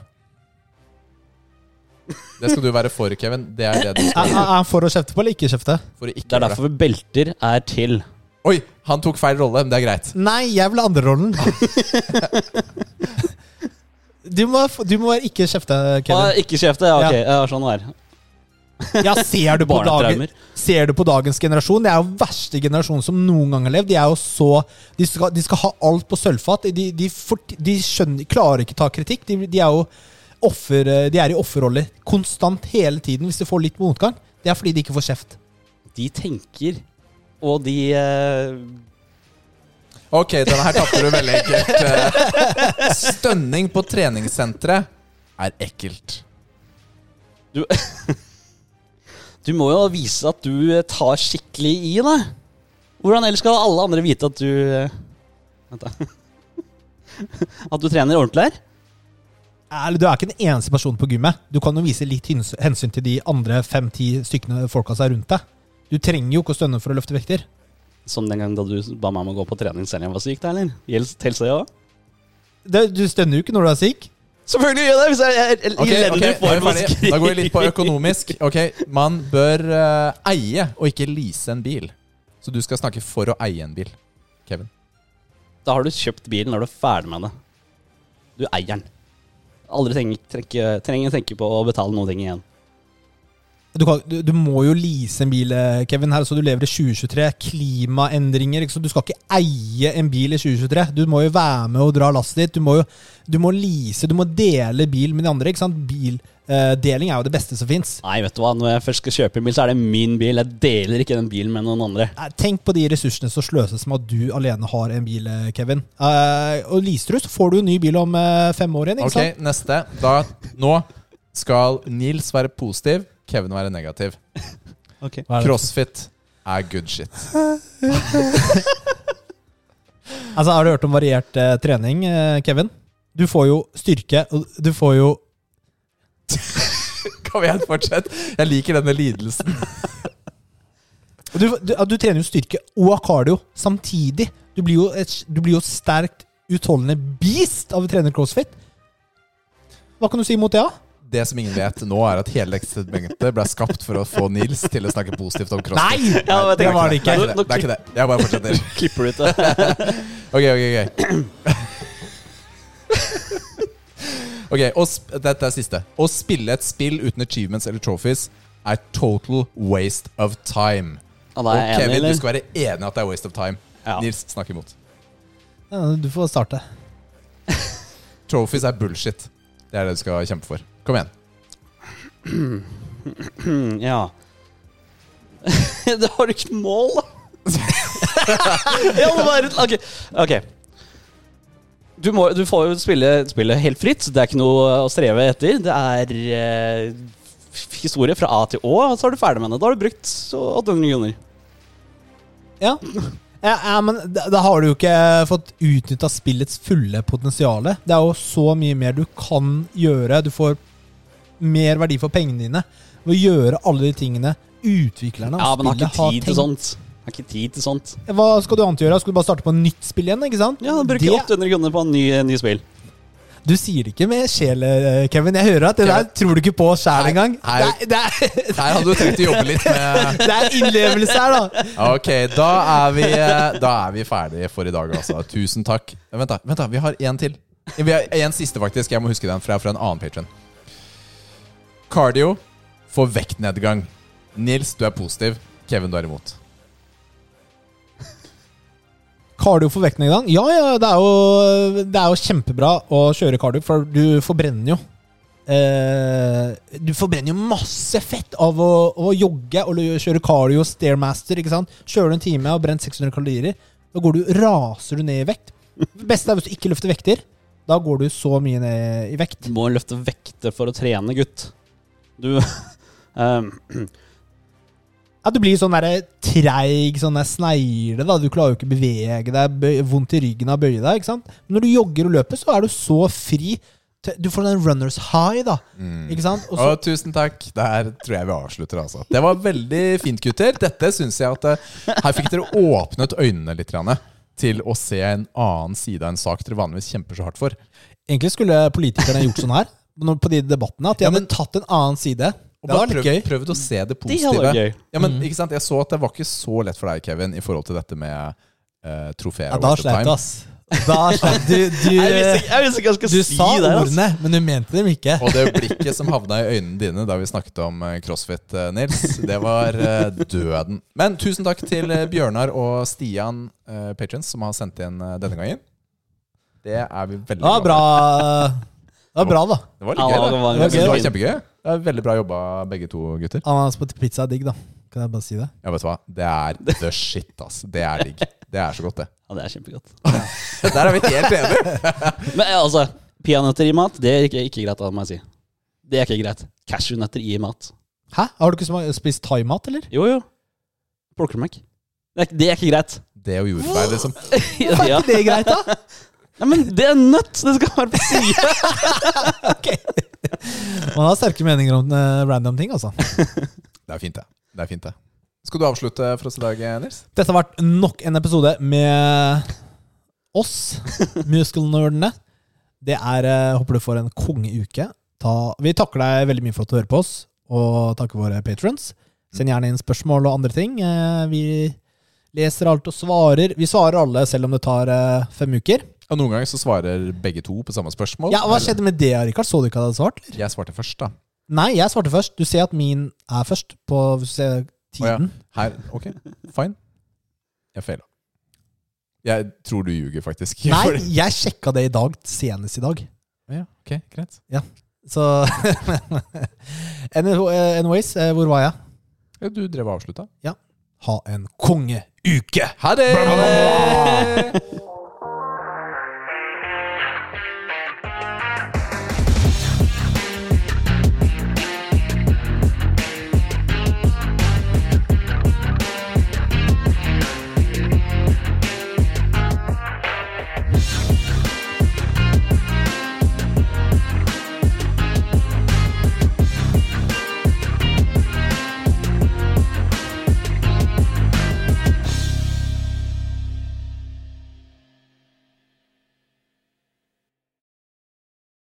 Det skal du være for, Kevin. Det er det du skal Er, er han for å kjefte på eller ikke kjefte? for å ikke Det er gjøre derfor belter er til. Oi, han tok feil rolle, men det er greit. Nei, jeg vil ha andrerollen. Du må, du må ikke kjefte, Ah, Kevin. ikke kjefte? Ja, ok. Ja, sånn det er. Ja, ser du på dagen, Barnetraumer. Ser du på dagens generasjon? Det er jo verste generasjon som noen gang har levd. De er jo så De skal, de skal ha alt på sølvfat. De, de, fort- de skjønner, klarer ikke ta kritikk. De, de er jo offer, de er i offerroller konstant hele tiden hvis de får litt motgang. Det er fordi de ikke får kjeft. De tenker, og de eh, Ok, denne her tapte du veldig enkelt. Eh, Stønning på treningssenteret er ekkelt. du, du må jo vise at du eh, tar skikkelig i, da. Hvordan ellers skal alle andre vite at du eh, Vent, da. At du trener ordentlig her? Eller, du er ikke den eneste personen på gymmet. Du kan jo vise litt hens- hensyn til de andre fem-ti stykkene folka som er rundt deg. Du trenger jo ikke å stønne for å løfte vekter. Som den gangen da du ba meg om å gå på trening selv om jeg var syk, da, eller? Gjelds- Telsa jeg òg? Det, du stønner jo ikke når du er syk. Selvfølgelig gjør jeg det! Hvis jeg, jeg, jeg, Ok, jeg, jeg, ok, jeg, nå er vi ferdig. Da går vi litt på økonomisk. Ok, Man bør eh, eie og ikke lease en bil. Så du skal snakke for å eie en bil, Kevin. Da har du kjøpt bilen, da er du ferdig med det. Du eier den. Aldri trenger, trekke, trenger tenke på å betale noen ting igjen. Du, kan, du, du må jo lease en bil, eh, Kevin. Her, så du lever i 2023. Klimaendringer. Ikke? sant? du skal ikke eie en bil i 2023. Du må jo være med og dra lasset ditt. Du må jo du må lease, du må dele bil med de andre. Ikke sant? Bildeling er jo det beste som fins. Nei, vet du hva, når jeg først skal kjøpe en bil, så er det min bil. Jeg deler ikke den bilen med noen andre. Eh, Tenk på de ressursene som sløses med at du alene har en bil, eh, Kevin. Eh, og leaser du, så får du en ny bil om eh, fem år igjen. Ikke Ok, Neste. Da, nå skal Nils være positiv, Kevin være negativ. Ok. sant? Crossfit er good shit. Altså, har du hørt om variert eh, trening, eh, Kevin? Du får jo styrke, og du får jo Kom igjen, fortsett. Jeg liker denne lidelsen. du, du, ja, du trener jo styrke og cardio samtidig. Du blir jo et du blir jo et sterkt, utholdende beast av å trene crossfit. Hva kan du si mot det, da? Det som ingen vet nå, er at hele dette segmentet ble skapt for å få Nils til å snakke positivt om crossfit. Nei! Ja, vet du det hva? var det ikke. Det er ikke det. det, er ikke det. Jeg bare fortsetter. Nå klipper du ut det. Ok, ok, ok. ok, å sp Dette er siste. Å spille et spill uten achievements eller trophies er total waste of time. Ja, da er Og jeg enig, Kevin, eller? du skal være enig at det er waste of time. Ja. Nils, snakk imot. Ja, du får starte. Trophies er bullshit. Det er det du skal kjempe for. Kom igjen. Mm, Ja. da har du ikke mål, da! ja, det var et, ok. ok. Du, må, du får jo spille, spille helt fritt. Det er ikke noe å streve etter. Det er eh, f- historie fra A til Å, og så er du ferdig med det. Da har du brukt så 800 kroner. Ja. Ja, ja, men da, da har du jo ikke fått utnytta spillets fulle potensial. Det er jo så mye mer du kan gjøre. Du får mer verdi for pengene dine ved å gjøre alle de tingene utviklerne Ja, av men har spillet ikke har tid til tenkt. sånt. Har ikke tid til sånt. Hva skal du annet gjøre? Skal du bare starte på nytt spill igjen? ikke sant? Ja, da bruker jeg 800 kroner på en ny, ny spill. Du sier det ikke med sjel, eh, Kevin. Jeg hører at det der Kevin. tror du ikke på sjæl Nei, engang. Det nei. er, det, er, Her hadde du trengt å jobbe litt med det er innlevelse her, da. Ok, da er vi, eh, da er vi ferdige for i dag, altså. Tusen takk. Vent, da. vent da, Vi har én til. Vi har En siste, faktisk. Jeg må huske den, for jeg er fra en annen patron. Cardio får vektnedgang. Nils, du er positiv. Kevin, du er imot. Cardio for vekten i gang? Ja, ja, det er, jo, det er jo kjempebra å kjøre cardio, for du forbrenner jo. Eh, du forbrenner jo masse fett av å, å jogge og kjøre cardio, stairmaster. ikke sant? Kjører du en time og brent 600 kalorier, da går du, raser du ned i vekt. Det beste er hvis du ikke løfter vekter. Da går du så mye ned i vekt. Du må løfte vekter for å trene, gutt. Du um, Ja, du blir sånn der treig, sånn der snegle, da. Du klarer jo ikke å bevege deg, bøy- vondt i ryggen av å bøye deg, ikke sant? Men når du jogger og løper, så er du så fri. til- Du får den runners high, da. Mm. Ikke sant? Og så, Å, tusen takk. Der tror jeg vi avslutter, altså. Det var veldig fint, gutter. Dette syns jeg at eh, Her fikk dere åpnet øynene litt grann, til å se en annen side av en sak dere vanligvis kjemper så hardt for. egentlig skulle politikerne gjort sånn her, når- på de debattene, at de Ja, hadde men- tatt en annen side. Og Det var bare litt prøv, gøy. prøvd å se det Det hadde positive. vært gøy. Ja, Mm. men ikke sant? Jeg så at det var ikke så lett for deg, Kevin, i forhold til dette med uh, trofeer. Ja, da sleit du, ass. Da sleit du. Jeg visste Du, ikke- jeg visste ikke hva jeg skulle du si sa der. Altså. ordene, men du mente dem ikke. Og det blikket som havna i øynene dine da vi snakket om eh, crossfit, eh, Nils, det var eh, døden. Men tusen takk til eh, Bjørnar og Stian uh, Patrons som har sendt inn eh, denne gangen. Det er vi veldig Det var glad for. bra. Det var bra, da. Det var Ja, litt gøy, det da. var- Jeg synes det var gøy. kjempegøy. Det er Veldig bra jobba, begge to gutter. Ananas på pizza er digg, da. Kan jeg bare si det? Ja, vet du hva? Det er the shit, ass. Det er digg. Det er så godt, det. Ja, det er kjempegodt. Der er vi helt enige. Men eh, altså, peanøtter i mat, det er ikke, ikke greit, da, må jeg si. Det er ikke greit. Cashewnøtter i mat. Hæ? Har du ikke sma- spist thaimat, eller? Jo, jo. Plukker dem ikke. Det er, ikke- det er ikke greit. Det og jordbær, liksom. ja. Det er greit, da. Ja, men det er nøtt! Det skal være på sida. Man har sterke meninger om eh, random ting, altså. Det er fint, det. det, er fint, det. Skal du avslutte for oss i dag, Nils? Dette har vært nok en episode med oss, muskelnerdene. Det er eh, Håper du får en kongeuke. Ta, vi takker deg veldig mye for at du hører på oss, og takker våre patrons. Send gjerne inn spørsmål og andre ting. Eh, Vi leser alt og svarer. Vi svarer alle, selv om det tar eh, fem uker. Og noen ganger så svarer begge to på samme spørsmål. Ja, Hva skjedde med det, Rikard? Så du ikke at jeg hadde svart? eller? Jeg svarte først, da. Nei, jeg svarte først. Du ser at min er først, på hvis du ser tiden. Her, ok, fine. Jeg feila. Jeg tror du ljuger, faktisk. Nei, jeg sjekka det i dag, senest i dag. Ja, ok, greit. Så Anyho- eh, Anyways, eh, hvor var jeg? Ja, du drev og avslutta. Ha en kongeuke! Ha det!